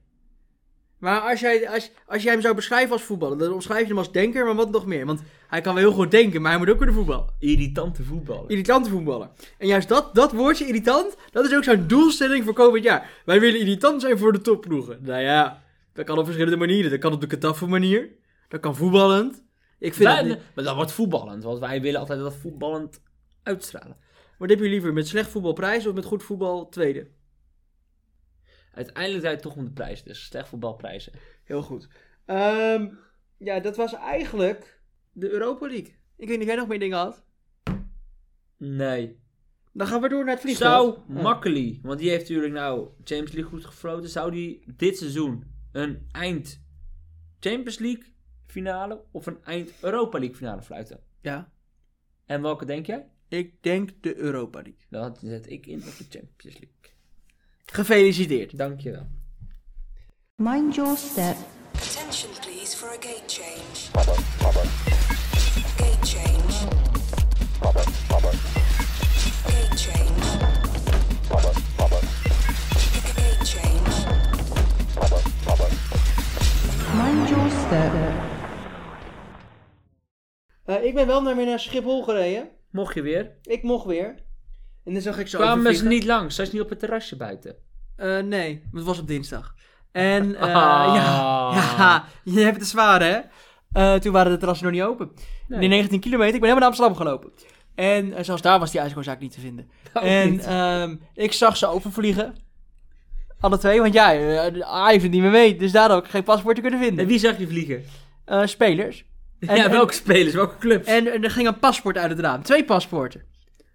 [SPEAKER 1] Maar als jij, als, als jij hem zou beschrijven als voetballer, dan omschrijf je hem als denker, maar wat nog meer? Want hij kan wel heel goed denken, maar hij moet ook kunnen voetballen.
[SPEAKER 2] Irritante voetballer.
[SPEAKER 1] Irritante voetballer. En juist dat, dat woordje irritant, dat is ook zijn doelstelling voor komend jaar. Wij willen irritant zijn voor de topploegen. Nou ja, dat kan op verschillende manieren. Dat kan op de Kataffe manier. Dat kan voetballend. Ik vind dat
[SPEAKER 2] Wij-
[SPEAKER 1] niet.
[SPEAKER 2] maar dat wordt voetballend, want wij willen altijd dat voetballend uitstralen.
[SPEAKER 1] Wat heb je liever, met slecht voetbal prijs of met goed voetbal tweede?
[SPEAKER 2] Uiteindelijk draait het toch om de prijs, dus slecht voetbalprijzen.
[SPEAKER 1] Heel goed. Ehm, ja, dat was eigenlijk de Europa League. Ik weet niet of jij nog meer dingen had.
[SPEAKER 2] Nee.
[SPEAKER 1] Dan gaan we door naar het vliegveld.
[SPEAKER 2] Zou Makkely, want die heeft natuurlijk nou Champions League goed gefloten, zou die dit seizoen een eind Champions League finale of een eind Europa League finale fluiten?
[SPEAKER 1] Ja,
[SPEAKER 2] En welke denk jij?
[SPEAKER 1] ik denk de Europa League.
[SPEAKER 2] Dan zet ik in op de Champions League.
[SPEAKER 1] Gefeliciteerd.
[SPEAKER 2] Dankjewel.
[SPEAKER 5] Mind your step.
[SPEAKER 6] Attention please for a gate change. Gate change. Gate change. Gate change.
[SPEAKER 5] Mind your step.
[SPEAKER 1] Eh, ik ben wel naar weer naar Schiphol gereden.
[SPEAKER 2] Mocht je weer?
[SPEAKER 1] Ik mocht weer. En dan zag ik zo
[SPEAKER 2] Kwamen ze
[SPEAKER 1] overvliegen.
[SPEAKER 2] niet langs? Zij is niet op het terrasje buiten.
[SPEAKER 1] Eh, nee, want het was op dinsdag. En
[SPEAKER 2] [LAUGHS]
[SPEAKER 1] eh,
[SPEAKER 2] Ah.
[SPEAKER 1] ja, [LAUGHS] ja, je hebt het zwaar hè. Eh, toen waren de terrassen nog niet open. En Die 19 kilometer, ik ben helemaal naar Amsterdam gelopen. En eh, zelfs daar was die ijskoorzaak niet te
[SPEAKER 2] [LAUGHS]
[SPEAKER 1] vinden.
[SPEAKER 2] Oh,
[SPEAKER 1] en ehm, ik zag ze overvliegen. Alle twee, want ja, eh, Ajax doet niet meer mee. Dus daar had ik geen paspoort te kunnen vinden.
[SPEAKER 2] En wie zag je [LAUGHS] vliegen?
[SPEAKER 1] Eh, spelers. En,
[SPEAKER 2] ja,
[SPEAKER 1] en-
[SPEAKER 2] welke spelers, welke clubs?
[SPEAKER 1] En, en er ging een paspoort uit het raam. Twee paspoorten.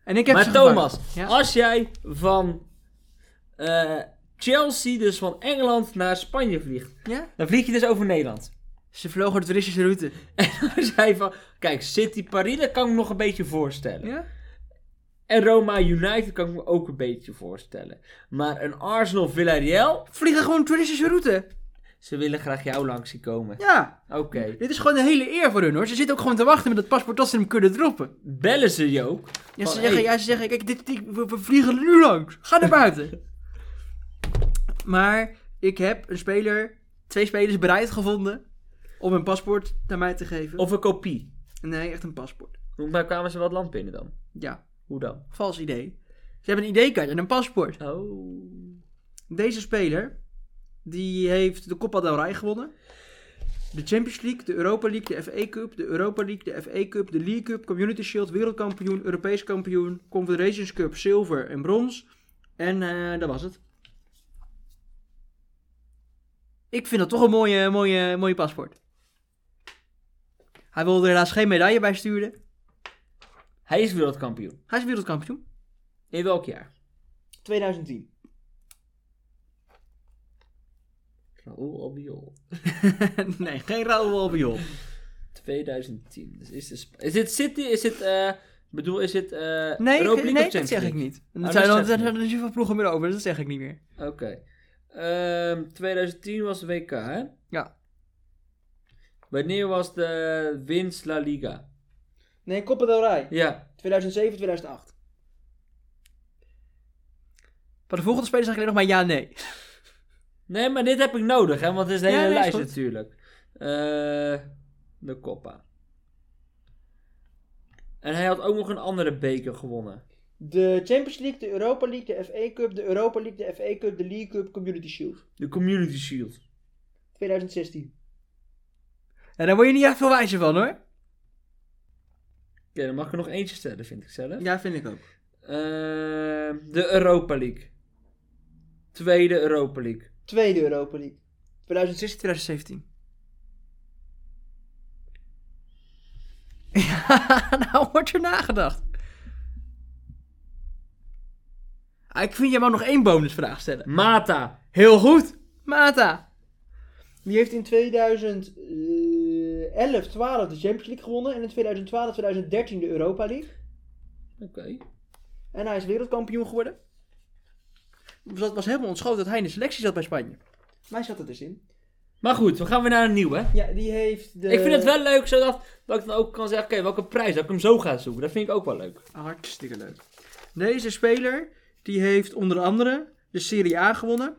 [SPEAKER 1] En ik heb ze
[SPEAKER 2] maar
[SPEAKER 1] gevangen.
[SPEAKER 2] Thomas,
[SPEAKER 1] Ja?
[SPEAKER 2] als jij van eh, Chelsea, dus van Engeland naar Spanje vliegt,
[SPEAKER 1] Ja?
[SPEAKER 2] dan vlieg je dus over Nederland.
[SPEAKER 1] Ze vlogen de toeristische route.
[SPEAKER 2] [LAUGHS] Als jij van, kijk, City Paris, dat kan ik me nog een beetje voorstellen.
[SPEAKER 1] Ja?
[SPEAKER 2] En Roma United kan ik me ook een beetje voorstellen. Maar een Arsenal Villarreal,
[SPEAKER 1] Vliegen gewoon de toeristische route.
[SPEAKER 2] ze willen graag jou langs zien komen.
[SPEAKER 1] Ja.
[SPEAKER 2] Oké.
[SPEAKER 1] Dit is gewoon een hele eer voor hun hoor. Ze zitten ook gewoon te wachten met dat paspoort tot ze hem kunnen droppen.
[SPEAKER 2] Bellen ze je ook?
[SPEAKER 1] Ja,
[SPEAKER 2] Van,
[SPEAKER 1] ze zeggen,
[SPEAKER 2] hey,
[SPEAKER 1] ja, ze zeggen kijk, dit, dit- we, we vliegen er nu langs. Ga naar buiten.
[SPEAKER 2] [LAUGHS]
[SPEAKER 1] maar ik heb een speler, twee spelers bereid gevonden om een paspoort naar mij te geven.
[SPEAKER 2] Of een kopie.
[SPEAKER 1] Nee, echt een paspoort.
[SPEAKER 2] Maar kwamen ze wel het land binnen dan?
[SPEAKER 1] Ja,
[SPEAKER 2] Hoe dan?
[SPEAKER 1] vals idee. Ze hebben een ID-kaart en een paspoort.
[SPEAKER 2] Oh.
[SPEAKER 1] Deze speler, die heeft de Copa del Rey gewonnen. De Champions League, de Europa League, de FA Cup, de Europa League, de FA Cup, de League Cup, Community Shield, wereldkampioen, Europees kampioen, Confederations Cup, zilver en brons. En eh dat was het. Ik vind dat toch een mooie, mooie, mooie paspoort. Hij wilde er helaas geen medaille bij sturen.
[SPEAKER 2] Hij is wereldkampioen.
[SPEAKER 1] Hij is wereldkampioen. [LAUGHS]
[SPEAKER 2] In welk jaar?
[SPEAKER 1] 2010.
[SPEAKER 2] Raoul Albiol.
[SPEAKER 1] nee, geen Raoul Albiol.
[SPEAKER 2] 2010. Dus is, de Sp- is dit City? Is dit... eh, Ik bedoel, is dit... eh,
[SPEAKER 1] Nee,
[SPEAKER 2] Europa
[SPEAKER 1] ik-
[SPEAKER 2] League
[SPEAKER 1] nee
[SPEAKER 2] of
[SPEAKER 1] dat
[SPEAKER 2] Champions
[SPEAKER 1] zeg ik Ah,
[SPEAKER 2] League?
[SPEAKER 1] niet.
[SPEAKER 2] Oh, dat
[SPEAKER 1] Er zijn
[SPEAKER 2] zeg
[SPEAKER 1] al-
[SPEAKER 2] je
[SPEAKER 1] er zijn
[SPEAKER 2] niet.
[SPEAKER 1] er zoveel ploegen meer over, dus dat zeg ik niet meer.
[SPEAKER 2] Oké. Ehm, 2010 was de WK, hè?
[SPEAKER 1] Ja.
[SPEAKER 2] Wanneer was de winst La Liga?
[SPEAKER 1] Nee, Copa del Rey.
[SPEAKER 2] Ja.
[SPEAKER 1] 2007, 2008. Bij de volgende speler zeg ik alleen nog maar ja, nee.
[SPEAKER 2] Nee, maar dit heb ik nodig, hè? Want het is de
[SPEAKER 1] Ja,
[SPEAKER 2] hele
[SPEAKER 1] nee, is
[SPEAKER 2] lijst
[SPEAKER 1] goed.
[SPEAKER 2] natuurlijk. Eh, de Coppa. En hij had ook nog een andere beker gewonnen.
[SPEAKER 1] De Champions League, de Europa League, de FA Cup, de Europa League, de FA Cup, de League Cup, Community Shield.
[SPEAKER 2] De Community Shield.
[SPEAKER 1] 2016. En daar word je niet echt veel wijzer van hoor.
[SPEAKER 2] Oké, dan mag ik er nog eentje stellen, vind ik zelf.
[SPEAKER 1] Ja, vind ik ook.
[SPEAKER 2] Ehm, de Europa League. Tweede Europa League.
[SPEAKER 1] Tweede Europa League. [LAUGHS] 2016, 2017. [LAUGHS]
[SPEAKER 2] nou wordt er nagedacht.
[SPEAKER 1] Ah, ik vind, jij wou nog één bonusvraag stellen.
[SPEAKER 2] Mata.
[SPEAKER 1] Heel goed. Mata. Die heeft in 2011, 12 de Champions League gewonnen. En in 2012, 2013 de Europa League.
[SPEAKER 2] Oké.
[SPEAKER 1] En hij is wereldkampioen geworden. Dus dat was helemaal ontschoten dat hij in de selectie zat bij Spanje. Maar hij zat er dus in.
[SPEAKER 2] Maar goed, we gaan weer naar een nieuwe.
[SPEAKER 1] Ja, die heeft de...
[SPEAKER 2] Ik vind het wel leuk zodat dat ik dan ook kan zeggen, oké, welke prijs, dat ik hem zo ga zoeken. Dat vind ik ook wel leuk.
[SPEAKER 1] Hartstikke leuk. Deze speler die heeft onder andere de Serie A gewonnen,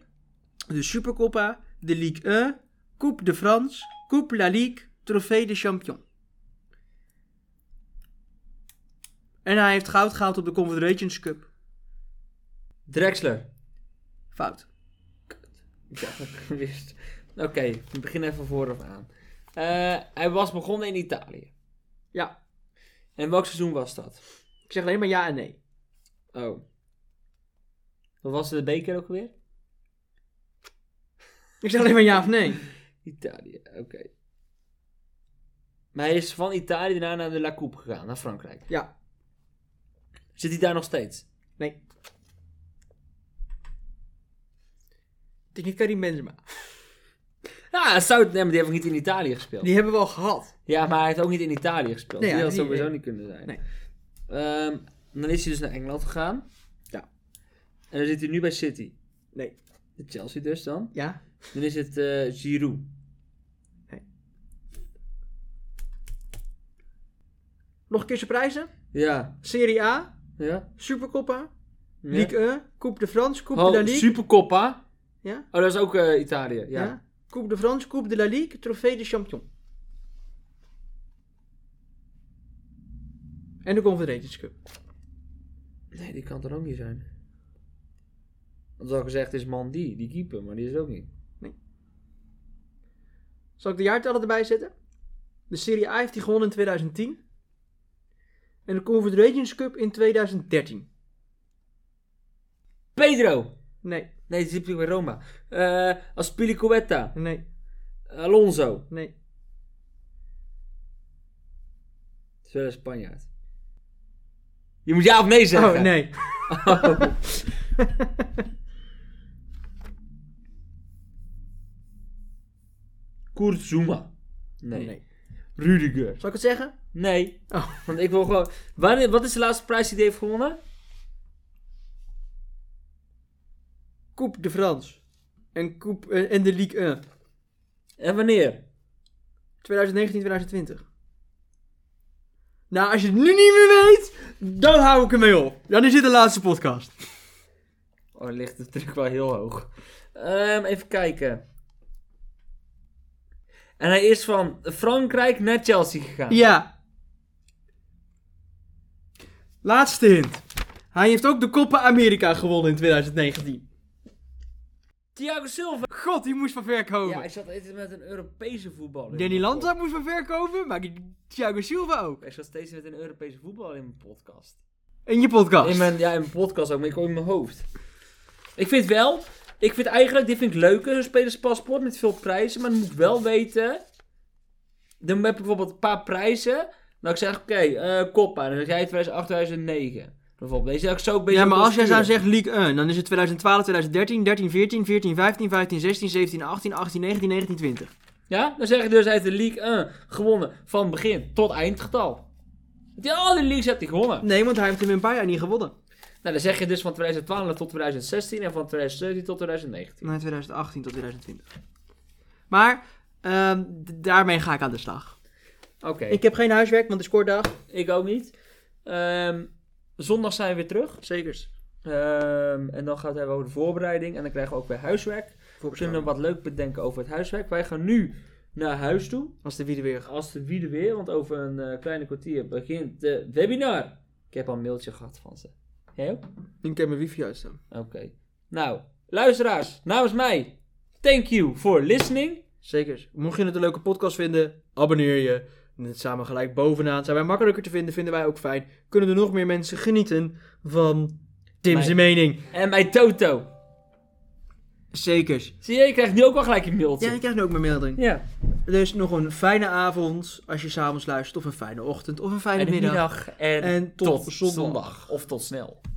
[SPEAKER 1] de Supercoppa, de Ligue 1, Coupe de France, Coupe la Ligue, Trophée de Champion. En hij heeft goud gehaald op de Confederations Cup.
[SPEAKER 2] Drexler.
[SPEAKER 1] Fout.
[SPEAKER 2] Ik dacht dat ik het [LAUGHS] wist. Oké, we beginnen even vooraf aan. Eh, hij was begonnen in Italië.
[SPEAKER 1] Ja,
[SPEAKER 2] En welk seizoen was dat?
[SPEAKER 1] ik zeg alleen maar ja en nee.
[SPEAKER 2] Oh. Wat was de beker ook weer?
[SPEAKER 1] Ik zeg alleen maar ja of nee.
[SPEAKER 2] Italië, oké. Maar hij is van Italië daarna naar de La Coupe gegaan, naar Frankrijk.
[SPEAKER 1] Ja,
[SPEAKER 2] Zit hij daar nog steeds?
[SPEAKER 1] nee. Het is niet Karim Benzema.
[SPEAKER 2] Ja, het zou, nee, maar die heeft ook niet in Italië gespeeld.
[SPEAKER 1] Die hebben we al gehad.
[SPEAKER 2] Ja, maar hij heeft ook niet in Italië gespeeld.
[SPEAKER 1] Nee,
[SPEAKER 2] die
[SPEAKER 1] ja,
[SPEAKER 2] had
[SPEAKER 1] die- eh,
[SPEAKER 2] sowieso niet kunnen zijn.
[SPEAKER 1] Nee.
[SPEAKER 2] Ehm, dan is hij dus naar Engeland gegaan.
[SPEAKER 1] Ja.
[SPEAKER 2] En dan zit hij nu bij City.
[SPEAKER 1] Nee.
[SPEAKER 2] De Chelsea dus dan.
[SPEAKER 1] Ja?
[SPEAKER 2] Dan is het eh Giroud.
[SPEAKER 1] Nog een keer surprise.
[SPEAKER 2] Ja.
[SPEAKER 1] Serie A,
[SPEAKER 2] Ja.
[SPEAKER 1] Supercoppa,
[SPEAKER 2] ja.
[SPEAKER 1] Ligue 1, Coupe de France, Coupe de la
[SPEAKER 2] Oh,
[SPEAKER 1] Ligue.
[SPEAKER 2] Supercoppa.
[SPEAKER 1] Ja?
[SPEAKER 2] Oh, dat is ook eh, Italië.
[SPEAKER 1] Ja.
[SPEAKER 2] Ja.
[SPEAKER 1] Coupe de France, Coupe de la Ligue, Trophée de Champion. En de Confederations Cup.
[SPEAKER 2] Nee, die kan er ook niet zijn. Want al gezegd is Mandy, die keeper, maar die is er ook niet.
[SPEAKER 1] Zal ik de jaartallen erbij zetten? De Serie A heeft hij gewonnen in 2010. En de Confederations Cup in 2013.
[SPEAKER 2] Pedro!
[SPEAKER 1] Nee,
[SPEAKER 2] Nee, die zit bij Roma. Eh Aspilicueta.
[SPEAKER 1] nee,
[SPEAKER 2] Alonso.
[SPEAKER 1] nee.
[SPEAKER 2] Dat is wel een Spanjaard. Je moet ja of nee zeggen.
[SPEAKER 1] Oh, nee.
[SPEAKER 2] Kurt Zuma. Nee.
[SPEAKER 1] nee.
[SPEAKER 2] Rudiger.
[SPEAKER 1] Zal ik het zeggen?
[SPEAKER 2] Nee.
[SPEAKER 1] Oh.
[SPEAKER 2] Want ik wil gewoon... Wanneer, wat is de laatste prijs die hij heeft gewonnen?
[SPEAKER 1] Coupe de France. En, coupe, eh, en de Ligue 1.
[SPEAKER 2] En wanneer?
[SPEAKER 1] 2019, 2020. Nou, als je het nu niet meer weet, dan hou ik ermee op. Dan is dit de laatste podcast.
[SPEAKER 2] Oh, dan ligt de druk wel heel hoog. Ehm, even kijken. En hij is van Frankrijk naar Chelsea gegaan.
[SPEAKER 1] Ja. Laatste hint. Hij heeft ook de Copa America gewonnen in 2019.
[SPEAKER 2] Thiago Silva.
[SPEAKER 1] God, die moest van ver komen.
[SPEAKER 2] Ja, hij zat eten met een Europese voetballer.
[SPEAKER 1] Danny Lanta moest van ver komen, maar die Thiago Silva ook.
[SPEAKER 2] Ik zat steeds met een Europese voetballer in mijn podcast.
[SPEAKER 1] In je podcast.
[SPEAKER 2] In mijn, ja, in mijn podcast ook, maar ik hoor in mijn hoofd. Ik vind wel, ik vind eigenlijk, dit vind ik leuker, zo'n spelerspaspoort met veel prijzen. Maar dan moet ik wel weten, dan heb ik bijvoorbeeld een paar prijzen. Dan ik zeg, oké, eh Coppa, dan zeg jij 2008, 2009. Bijvoorbeeld, deze zou ik zo een beetje
[SPEAKER 1] Ja, maar
[SPEAKER 2] op
[SPEAKER 1] als jij zou
[SPEAKER 2] sturen.
[SPEAKER 1] zeggen League 1, dan is het 2012, 2013, 13, 14, 14, 15, 15, 16, 17, 18, 18, 19, 19, 20.
[SPEAKER 2] Ja, dan zeg ik dus, hij heeft de League 1 gewonnen van begin tot eindgetal. Die, al die leagues heeft hij gewonnen.
[SPEAKER 1] Nee, want hij heeft hem in een paar jaar niet gewonnen.
[SPEAKER 2] Nou, dan zeg je dus van 2012 tot 2016 en van 2017 tot 2019.
[SPEAKER 1] Nee, 2018 tot 2020. Maar ehm, d- daarmee ga ik aan de slag.
[SPEAKER 2] Oké.
[SPEAKER 1] Ik heb geen huiswerk, want het is koordag.
[SPEAKER 2] Ik ook niet. Ehm, zondag zijn we weer terug.
[SPEAKER 1] Zekers.
[SPEAKER 2] Ehm, en dan gaat het hebben over de voorbereiding. En dan krijgen we ook weer huiswerk. We kunnen wat leuk bedenken over het huiswerk. Wij gaan nu naar huis toe.
[SPEAKER 1] Als de wiede weer.
[SPEAKER 2] Als de wiede weer, want over een eh, kleine kwartier begint de webinar. Ik heb al een mailtje gehad van ze. Jij ook?
[SPEAKER 1] Ik heb mijn wifi uitstaan.
[SPEAKER 2] Oké. Nou, luisteraars, namens mij. Thank you for listening.
[SPEAKER 1] Zekers. Mocht je het een leuke podcast vinden, abonneer je. En het samen gelijk bovenaan. Zijn wij makkelijker te vinden, vinden wij ook fijn. Kunnen er nog meer mensen genieten van Tim's
[SPEAKER 2] Mijn-
[SPEAKER 1] mening.
[SPEAKER 2] En mijn Toto.
[SPEAKER 1] Zekers.
[SPEAKER 2] Zie je, je krijgt nu ook wel gelijk een mailtje.
[SPEAKER 1] Ja, ik krijg nu ook mijn melding.
[SPEAKER 2] Ja.
[SPEAKER 1] Dus nog een fijne avond als je s'avonds luistert. Of een fijne ochtend. Of een fijne
[SPEAKER 2] En een
[SPEAKER 1] middag.
[SPEAKER 2] middag en,
[SPEAKER 1] En tot zondag.
[SPEAKER 2] Of tot snel.